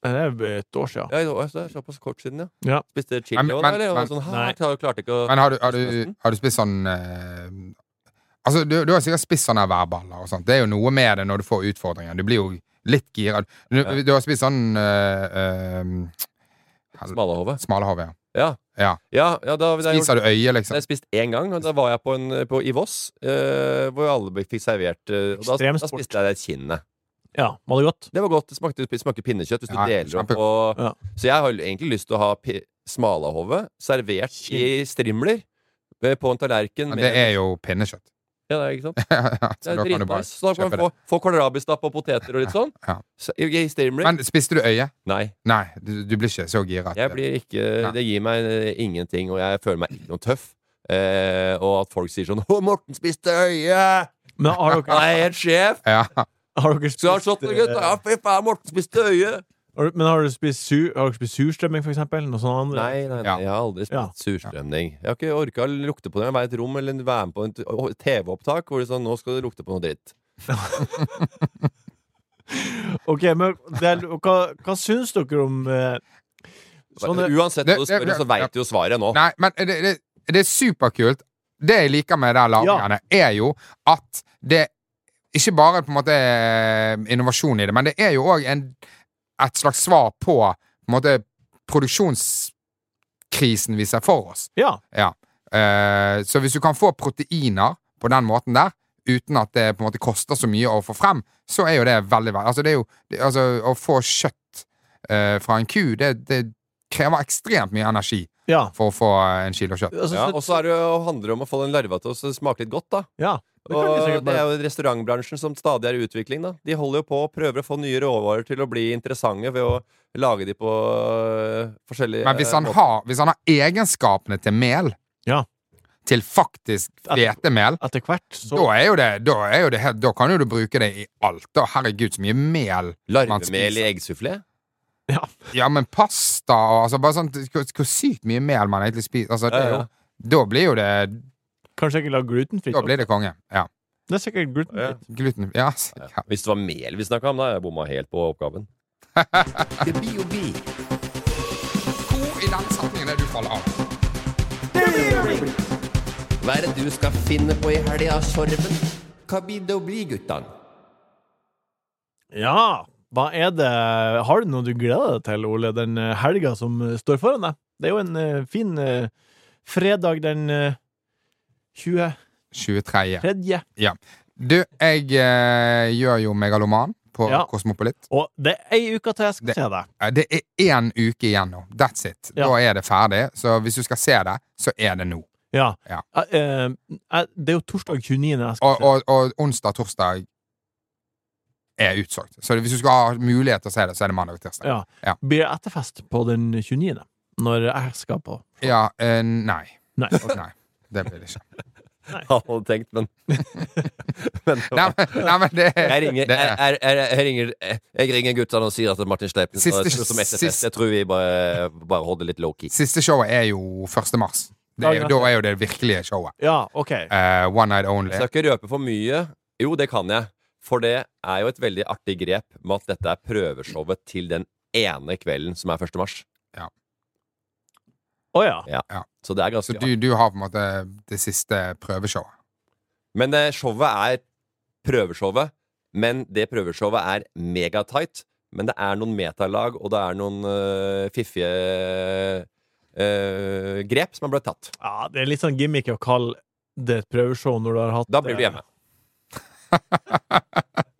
[SPEAKER 2] Det er et år sia.
[SPEAKER 5] ja, i år, så det er såpass kort siden, ja.
[SPEAKER 2] Ja.
[SPEAKER 5] Spiste chili
[SPEAKER 4] Men-
[SPEAKER 5] og
[SPEAKER 4] men-
[SPEAKER 5] eller? Og
[SPEAKER 4] men-
[SPEAKER 5] sånn, hæ,
[SPEAKER 2] Nei.
[SPEAKER 5] klar- klarte ikke å
[SPEAKER 4] Men har du, har du, har du spist sånn eh, Altså, du, du har sikkert spist sånne værballer og sånt. Det er jo noe med det når du får utfordringer. Du blir jo litt gira. Du,
[SPEAKER 5] Ja.
[SPEAKER 4] du har spist sånn uh,
[SPEAKER 5] Smalahove.
[SPEAKER 4] Smalahove, ja.
[SPEAKER 5] Ja.
[SPEAKER 4] Ja.
[SPEAKER 5] Ja, ja, da, da,
[SPEAKER 4] Spiser du øye,
[SPEAKER 5] Jeg
[SPEAKER 4] liksom?
[SPEAKER 5] har spist én gang, og da var jeg på, en, på i Voss, eh, hvor alle ble- fikk servert eh, og da, da
[SPEAKER 2] Ekstremsport.
[SPEAKER 5] spiste jeg det kinnet.
[SPEAKER 2] Ja, var det godt?
[SPEAKER 5] Det var godt. Det smakte, det smaker pinnekjøtt hvis du
[SPEAKER 4] Ja,
[SPEAKER 5] deler opp.
[SPEAKER 4] kjempe-
[SPEAKER 5] Og,
[SPEAKER 2] Ja.
[SPEAKER 5] Så jeg har jo egentlig lyst til å ha pi- smalahove servert i strimler eh, på en tallerken.
[SPEAKER 4] Men det er jo pinnekjøtt.
[SPEAKER 5] ja, det er, ikke sant?
[SPEAKER 4] så
[SPEAKER 5] Det
[SPEAKER 4] da
[SPEAKER 5] er
[SPEAKER 4] kan du bare
[SPEAKER 5] dritnice. Så da kan
[SPEAKER 4] kjøpe
[SPEAKER 5] man
[SPEAKER 4] det.
[SPEAKER 5] få, få kålrabistapp og poteter og litt sånn.
[SPEAKER 4] Ja.
[SPEAKER 5] Så- I, i strimler.
[SPEAKER 4] Men spiste du øye?
[SPEAKER 5] Nei.
[SPEAKER 4] Nei, du, du blir ikke så gira. at-
[SPEAKER 5] Jeg blir ikke,
[SPEAKER 4] Nei.
[SPEAKER 5] det gir meg eh, ingenting, og jeg føler meg ikke noe tøff. Eh, og at folk sier sånn 'Å, Morten spiste øye!'
[SPEAKER 2] Men har
[SPEAKER 5] Han
[SPEAKER 2] dere,
[SPEAKER 5] er helt sjef!
[SPEAKER 4] Ja.
[SPEAKER 2] har dere
[SPEAKER 5] Skal ha
[SPEAKER 2] spist,
[SPEAKER 5] slått den, gutta! Ja,
[SPEAKER 2] eh,
[SPEAKER 5] fy faen, Morten spiste øye!
[SPEAKER 2] har du- Men har dere spist, su, har dere spist surstrømming, for eksempel? Noe sånt andre?
[SPEAKER 5] Nei, nei, nei,
[SPEAKER 4] Ja.
[SPEAKER 5] jeg har aldri spist
[SPEAKER 2] Ja.
[SPEAKER 5] surstrømning. Jeg har ikke orka å lukte på det. Jeg var i et rom eller være med på en t- å- TV-opptak hvor det sånn 'Nå skal du lukte på noe dritt'.
[SPEAKER 2] Ok, men det er, hva, hva syns dere om eh, Sånn er-
[SPEAKER 5] Uansett
[SPEAKER 4] Det-
[SPEAKER 5] hva du
[SPEAKER 4] det-
[SPEAKER 5] spør, så veit du jo svaret nå.
[SPEAKER 4] Nei, men det, det, det er superkult. Det jeg liker med de lagringene, er jo at det ikke bare på en måte er eh, innovasjon i det, men det er jo òg et slags svar på, på en måte, produksjonskrisen vi ser for oss.
[SPEAKER 2] Ja.
[SPEAKER 4] Ja. Eh, så hvis du kan få proteiner på den måten der, uten at det på en måte koster så mye å få frem, så er jo det veldig verdt altså, det. Er jo, det altså, å få kjøtt eh, fra en ku, det, det krever ekstremt mye energi
[SPEAKER 2] ja.
[SPEAKER 4] for å få en kilo kjøtt.
[SPEAKER 2] Altså,
[SPEAKER 5] Ja,
[SPEAKER 2] så-
[SPEAKER 5] og så er det jo, handler det om å få den larva til å smake litt godt, da.
[SPEAKER 2] ja. Det kan vi
[SPEAKER 5] Og
[SPEAKER 2] sikkert
[SPEAKER 5] det er
[SPEAKER 2] bare
[SPEAKER 5] jo restaurantbransjen som stadig er i utvikling. da De holder jo på og prøver å få nye råvarer til å bli interessante ved å lage de på øh, forskjellige
[SPEAKER 4] Men hvis han,
[SPEAKER 5] øh, måter.
[SPEAKER 4] har, hvis han har egenskapene til mel,
[SPEAKER 2] Ja.
[SPEAKER 4] til faktisk hvetemel,
[SPEAKER 2] Etter hvert
[SPEAKER 4] da
[SPEAKER 2] så
[SPEAKER 4] er jo det, da er jo det helt, da kan jo du bruke det i alt. Da, herregud, så mye mel man
[SPEAKER 5] Larvemel i
[SPEAKER 4] spiser.
[SPEAKER 5] eggsufflé?
[SPEAKER 2] ja.
[SPEAKER 4] Ja, men pasta og altså, bare sånn, hvor, hvor sykt mye mel man egentlig spiser. Altså, det er
[SPEAKER 5] Ja,
[SPEAKER 4] jo,
[SPEAKER 5] ja.
[SPEAKER 4] Da blir jo det
[SPEAKER 2] Kanskje ikke lage glutenfritt.
[SPEAKER 4] Da blir det konge. Ja.
[SPEAKER 2] Det er sikkert glutenfritt.
[SPEAKER 4] Gluten Ja, sikkert.
[SPEAKER 5] Ja. Hvis det var mel vi snakka om, da hadde jeg bomma helt på oppgaven.
[SPEAKER 3] Det blir jo bi.
[SPEAKER 4] Hvor i den setningen er det du faller av?
[SPEAKER 3] Hva er det du skal finne på i helga, Sorven? Hva blir det å bli, guttan?
[SPEAKER 2] Ja. Hva er det Har du noe du gleder deg til, Ole, den eh, helga som eh, står foran deg? Det er jo en eh, fin eh, fredag den eh, 23.
[SPEAKER 4] 23. Ja. Du, jeg eh, gjør jo megaloman på
[SPEAKER 2] Ja.
[SPEAKER 4] Kosmopolit.
[SPEAKER 2] Og det er ei uke til jeg skal
[SPEAKER 4] Det-
[SPEAKER 2] se deg.
[SPEAKER 4] Eh, Det er én uke igjen nå. That's it.
[SPEAKER 2] Ja.
[SPEAKER 4] Da er det ferdig. Så hvis du skal se det, så er det nå.
[SPEAKER 2] Ja.
[SPEAKER 4] Ja.
[SPEAKER 2] Jeg, eh, jeg- det er jo torsdag 29. jeg skal
[SPEAKER 4] Og, og, og onsdag, torsdag er utsolgt. Så hvis du skal ha mulighet til å se det, så er det mandag og tirsdag.
[SPEAKER 2] Ja.
[SPEAKER 4] Ja.
[SPEAKER 2] Blir det etterfest på den 29., når jeg skal på?
[SPEAKER 4] Ja, eh, nei.
[SPEAKER 2] Nei.
[SPEAKER 4] Og nei. Det blir det ikke.
[SPEAKER 5] Jeg hadde tenkt, men, men det
[SPEAKER 4] Nei,
[SPEAKER 5] var-
[SPEAKER 4] men, nei, men det,
[SPEAKER 5] jeg ringer,
[SPEAKER 4] det
[SPEAKER 5] jeg, jeg, jeg, jeg ringer, jeg ringer guttene og sier at Martin Sleipnes
[SPEAKER 4] Siste-
[SPEAKER 5] var som etter
[SPEAKER 4] siste-
[SPEAKER 5] fest. Jeg tror vi bare, bare holder litt low-key.
[SPEAKER 4] Siste showet er jo 1. mars. Det er,
[SPEAKER 2] Dagen
[SPEAKER 4] jo-
[SPEAKER 2] etter.
[SPEAKER 4] da er jo det virkelige showet.
[SPEAKER 2] Ja, OK.
[SPEAKER 4] Eh, one night only.
[SPEAKER 5] Jeg skal ikke røpe for mye. Jo, det kan jeg. For det er jo et veldig artig grep med at dette er prøveshowet til den ene kvelden som er 1. mars.
[SPEAKER 2] Å ja.
[SPEAKER 5] Så det er
[SPEAKER 4] Så
[SPEAKER 5] ganske
[SPEAKER 4] du, du har på en måte det siste prøveshowet.
[SPEAKER 5] Men eh, showet er prøveshowet. Men det prøveshowet er megatight. Men det er noen metalag, og det er noen eh, fiffige eh, grep som har blitt tatt.
[SPEAKER 2] ja. Det er litt sånn gimmick å kalle det et prøveshow når du har hatt eh,
[SPEAKER 5] Da blir du hjemme.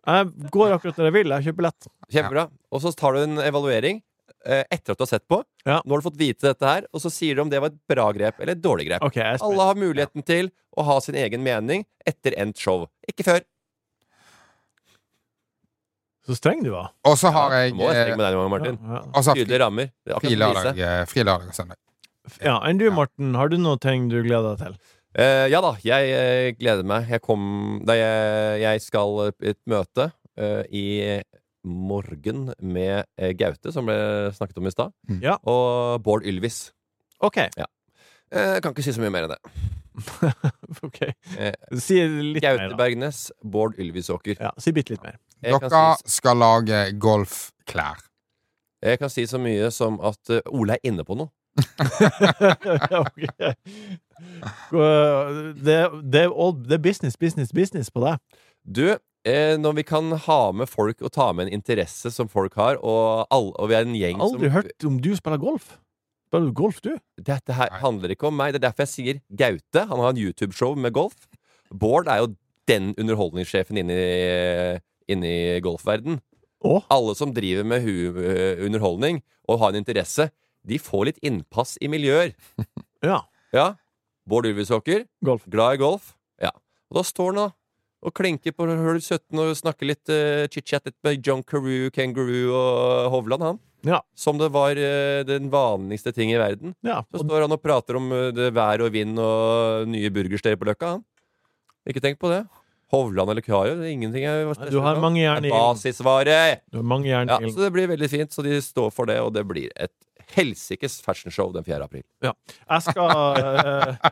[SPEAKER 2] Jeg går akkurat når jeg vil. Jeg kjøper billett.
[SPEAKER 5] Kjempebra. Og så tar du en evaluering eh, etter at du har sett på.
[SPEAKER 2] Ja.
[SPEAKER 5] Nå har du fått vite dette her, og så sier du om det var et bra grep eller et dårlig grep.
[SPEAKER 2] OK. Jeg er spent.
[SPEAKER 5] Alle har muligheten til å ha sin egen mening etter endt show. Ikke før.
[SPEAKER 2] Så streng du var.
[SPEAKER 4] Og så har
[SPEAKER 5] Ja,
[SPEAKER 4] jeg,
[SPEAKER 5] nå må jeg
[SPEAKER 4] eh,
[SPEAKER 5] strekke med deg nå, Martin.
[SPEAKER 2] Ja, ja.
[SPEAKER 4] og så har jeg
[SPEAKER 5] Tydelige rammer. Det er akkurat
[SPEAKER 4] fri
[SPEAKER 5] som Lise.
[SPEAKER 4] lørdag, eh, fri lørdag og søndag.
[SPEAKER 2] ja. Enn du, Morten, har du noe ting du gleder deg til?
[SPEAKER 5] Eh, ja da, jeg eh, gleder meg. Jeg kom da jeg, jeg skal eh, i et møte eh, i morgen med eh, Gaute, som ble snakket om i stad,
[SPEAKER 2] Ja.
[SPEAKER 5] og Bård Ylvis.
[SPEAKER 2] OK.
[SPEAKER 5] Eh, kan ikke si så mye mer enn det.
[SPEAKER 2] ok
[SPEAKER 5] Eh,
[SPEAKER 2] Si litt mer,
[SPEAKER 5] Gaute
[SPEAKER 2] da.
[SPEAKER 5] Bergnes, Bård Ylvisåker.
[SPEAKER 2] Ja, si bitte litt mer.
[SPEAKER 5] Jeg kan,
[SPEAKER 4] Dere
[SPEAKER 5] si,
[SPEAKER 4] skal lage golfklær.
[SPEAKER 5] jeg kan si så mye som at eh, Ole er inne på noe.
[SPEAKER 2] Ok. Gå- Det, det, er all- det er business, business, business på deg.
[SPEAKER 5] Du, eh, når vi kan ha med folk og ta med en interesse som folk har, og, all, og vi er en gjeng
[SPEAKER 2] Aldri
[SPEAKER 5] som
[SPEAKER 2] hørt om du spiller golf. Spiller du golf, du?
[SPEAKER 5] Dette her
[SPEAKER 4] Nei.
[SPEAKER 5] handler ikke om meg. Det er derfor jeg sier Gaute. Han har en YouTube-show med golf. Bård er jo den underholdningssjefen inne i, inne i golfverden.
[SPEAKER 2] Å?
[SPEAKER 5] Alle som driver med hu eh, underholdning og har en interesse, de får litt innpass i miljøer.
[SPEAKER 2] Ja.
[SPEAKER 5] Ja. Bård Ulvisåker,
[SPEAKER 2] Golf.
[SPEAKER 5] glad i golf. Ja. Og da står han da og klinker på hull 17 og snakker litt eh, chit-chat litt med John Carew, Kangaroo og Hovland, han.
[SPEAKER 2] Ja.
[SPEAKER 5] Som det var eh, den vanligste ting i verden.
[SPEAKER 2] Ja,
[SPEAKER 5] Så
[SPEAKER 2] og
[SPEAKER 5] står han og prater om uh, det vær og vind og nye burgersteder på Løkka. Han. Ikke tenk på det. Hovland eller Kario. Det er ingenting jeg
[SPEAKER 2] Du har mange jern
[SPEAKER 5] Det
[SPEAKER 2] i Mm.
[SPEAKER 5] er Basisvaret!
[SPEAKER 2] du har mange jern
[SPEAKER 5] Ja,
[SPEAKER 2] i ilden.
[SPEAKER 5] så det blir veldig fint. Så de står for det, og det blir et helsikes fashionshow den 4. april.
[SPEAKER 2] Jeg skal eh,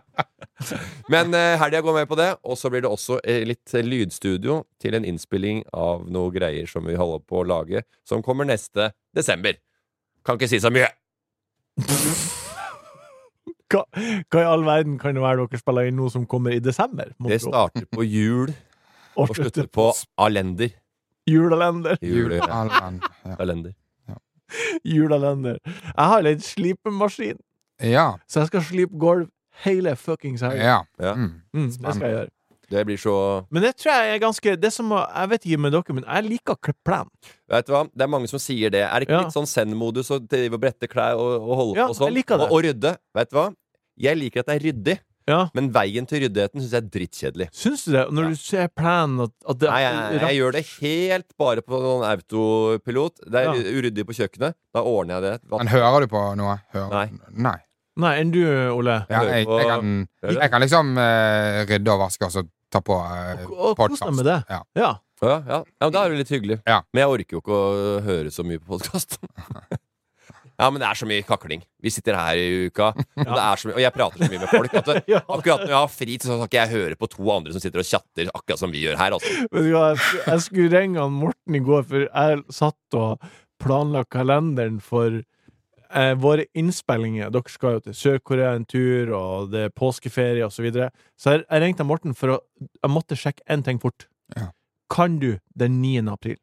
[SPEAKER 5] Men uh, helga går med på det, og så blir det også eh, litt lydstudio til en innspilling av noe greier som vi holder på å lage, som kommer neste desember. Kan ikke si så mye!
[SPEAKER 2] Hva, hva i all verden kan det være dere spiller inn nå som kommer i desember? må
[SPEAKER 5] Det
[SPEAKER 2] tro?
[SPEAKER 5] starter på jul
[SPEAKER 2] Og
[SPEAKER 5] og
[SPEAKER 2] slutter
[SPEAKER 5] slutter på alender.
[SPEAKER 2] Julealender.
[SPEAKER 5] Jule,
[SPEAKER 4] Juleallen. Ja.
[SPEAKER 5] alender.
[SPEAKER 2] Julealender. Jeg har leid slipemaskin,
[SPEAKER 4] Ja.
[SPEAKER 2] så jeg skal slipe gulv hele fuckings helga.
[SPEAKER 4] ja.
[SPEAKER 5] Ja.
[SPEAKER 4] Mm.
[SPEAKER 2] Mm, det skal jeg gjøre.
[SPEAKER 5] Det blir så
[SPEAKER 2] Men det tror jeg er ganske Det som å- Jeg vet ikke med dere, men jeg liker å klippe plen.
[SPEAKER 5] Vet du hva, det er mange som sier det. Er det ikke
[SPEAKER 2] Ja.
[SPEAKER 5] litt sånn send-modus å drive og brette klær og, og holde
[SPEAKER 2] Ja,
[SPEAKER 5] på og sånn?
[SPEAKER 2] jeg liker det.
[SPEAKER 5] Og, og rydde. Vet du hva? Jeg liker at det er ryddig,
[SPEAKER 2] Ja.
[SPEAKER 5] men veien til ryddigheten syns jeg er drittkjedelig.
[SPEAKER 2] Syns du det? Når
[SPEAKER 5] Ja.
[SPEAKER 2] du ser plenen at, at det
[SPEAKER 5] Nei, jeg, jeg gjør det helt bare på sånn autopilot. Det
[SPEAKER 2] Ja.
[SPEAKER 5] er uryddig på kjøkkenet. Da ordner jeg det. Hva-
[SPEAKER 4] Men hører du på noe? Hører...
[SPEAKER 5] Nei.
[SPEAKER 4] Nei.
[SPEAKER 2] Nei, enn du, Ole?
[SPEAKER 4] Ja,
[SPEAKER 5] Hører
[SPEAKER 4] jeg,
[SPEAKER 5] på-
[SPEAKER 4] jeg, kan,
[SPEAKER 5] Hører du?
[SPEAKER 4] jeg kan liksom eh, rydde og vaske og så ta på uh,
[SPEAKER 2] Og- og kos deg med det.
[SPEAKER 4] Ja.
[SPEAKER 2] Ja.
[SPEAKER 5] Å Eh, Ja, ja. ja, men da er det litt hyggelig.
[SPEAKER 4] Ja.
[SPEAKER 5] Men jeg orker jo ikke å høre så mye på podkast. Ja, men det er så mye kakling. Vi sitter her i uka, og, det er så mye, og jeg prater så mye med folk. At det,
[SPEAKER 2] Ja.
[SPEAKER 5] akkurat når jeg har fri, så skal ikke jeg høre på to andre som sitter og chatter, akkurat som vi gjør her. Altså.
[SPEAKER 2] Vet du hva, jeg sk- jeg skulle ringe han Morten i går, for jeg satt og planla kalenderen for eh, våre innspillinger. Dere skal jo til Sør-Korea en tur, og det er påskeferie osv. Så, videre. så jeg, jeg ringte han Morten for å Jeg måtte sjekke én ting fort.
[SPEAKER 4] Ja.
[SPEAKER 2] Kan du den 9. april?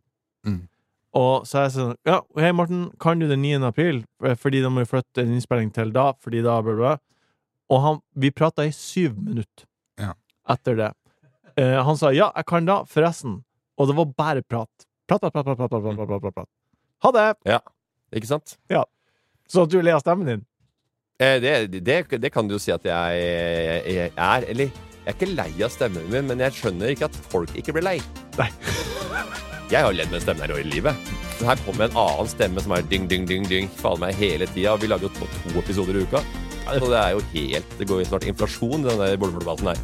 [SPEAKER 4] Mm.
[SPEAKER 2] Og så jeg sånn Ja, hei, Morten, kan du den 9. april? Eh, Fordi da må vi flytte en innspilling til da, fordi da bla, bla. Og han, vi prata i syv minutter
[SPEAKER 4] Ja.
[SPEAKER 2] etter det. Eh, han sa 'ja, jeg kan da, forresten', og det var bare prat. Prat, prat, prat, prat, prat, prat, prat, prat, prat, prat. Ha det!
[SPEAKER 5] Ikke sant?
[SPEAKER 2] Så at du ler av stemmen din.
[SPEAKER 5] Eh, Det, det, det kan du jo si at jeg, jeg er. Eller jeg er ikke lei av stemmen min, men jeg skjønner ikke at folk ikke blir lei.
[SPEAKER 2] Nei.
[SPEAKER 5] Jeg har ledd med stemmen her i livet. Men her kommer en annen stemme som er dyng, dyng, dyng, dyng faen meg hele tida. Og vi lager jo to, to episoder i uka. Så det er jo helt Det går jo snart inflasjon i den der boligdebatten her.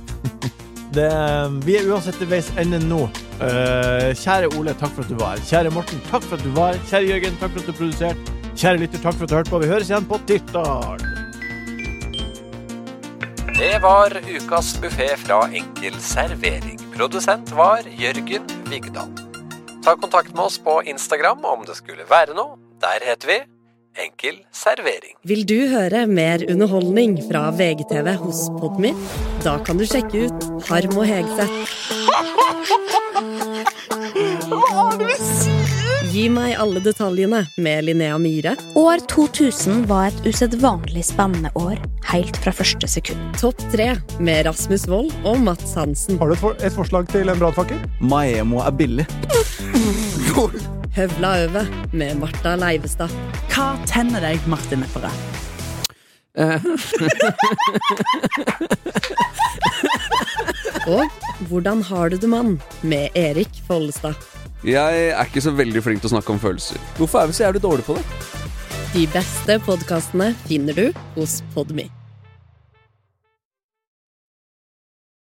[SPEAKER 2] Det, eh, vi er uansett ved veis ende nå. Eh, kjære Ole, takk for at du var her. Kjære Morten, takk for at du var her. Kjære Jørgen, takk for at du produserte. Kjære lytter, takk for at du hørte på. Vi høres igjen på tirsdag.
[SPEAKER 6] Det var ukas buffé fra Enkel servering. Produsent var Jørgen Vigdal. Ta kontakt med oss på Instagram om det skulle være noe. Der heter vi Enkel servering.
[SPEAKER 1] Vil du høre mer underholdning fra VGTV hos Podmy? Da kan du sjekke ut Harm og Hegseth. Gi meg alle detaljene med Linnea Myhre.
[SPEAKER 7] År 2000 var et usedvanlig spennende år, helt fra første sekund.
[SPEAKER 1] Topp tre med Rasmus Wold og Mats Hansen.
[SPEAKER 2] Har du et, forslag til en brannfakkel?
[SPEAKER 6] Maemo er billig.
[SPEAKER 1] Høvla over med Marta Leivestad. Hva tenner deg, Martin Lepperød? Eh. og Hvordan har du det, mann? med Erik Follestad.
[SPEAKER 6] Jeg er ikke så veldig flink til å snakke om følelser. Hvorfor er vi så jævlig dårlige på det?
[SPEAKER 1] De beste podkastene finner du hos Podmy.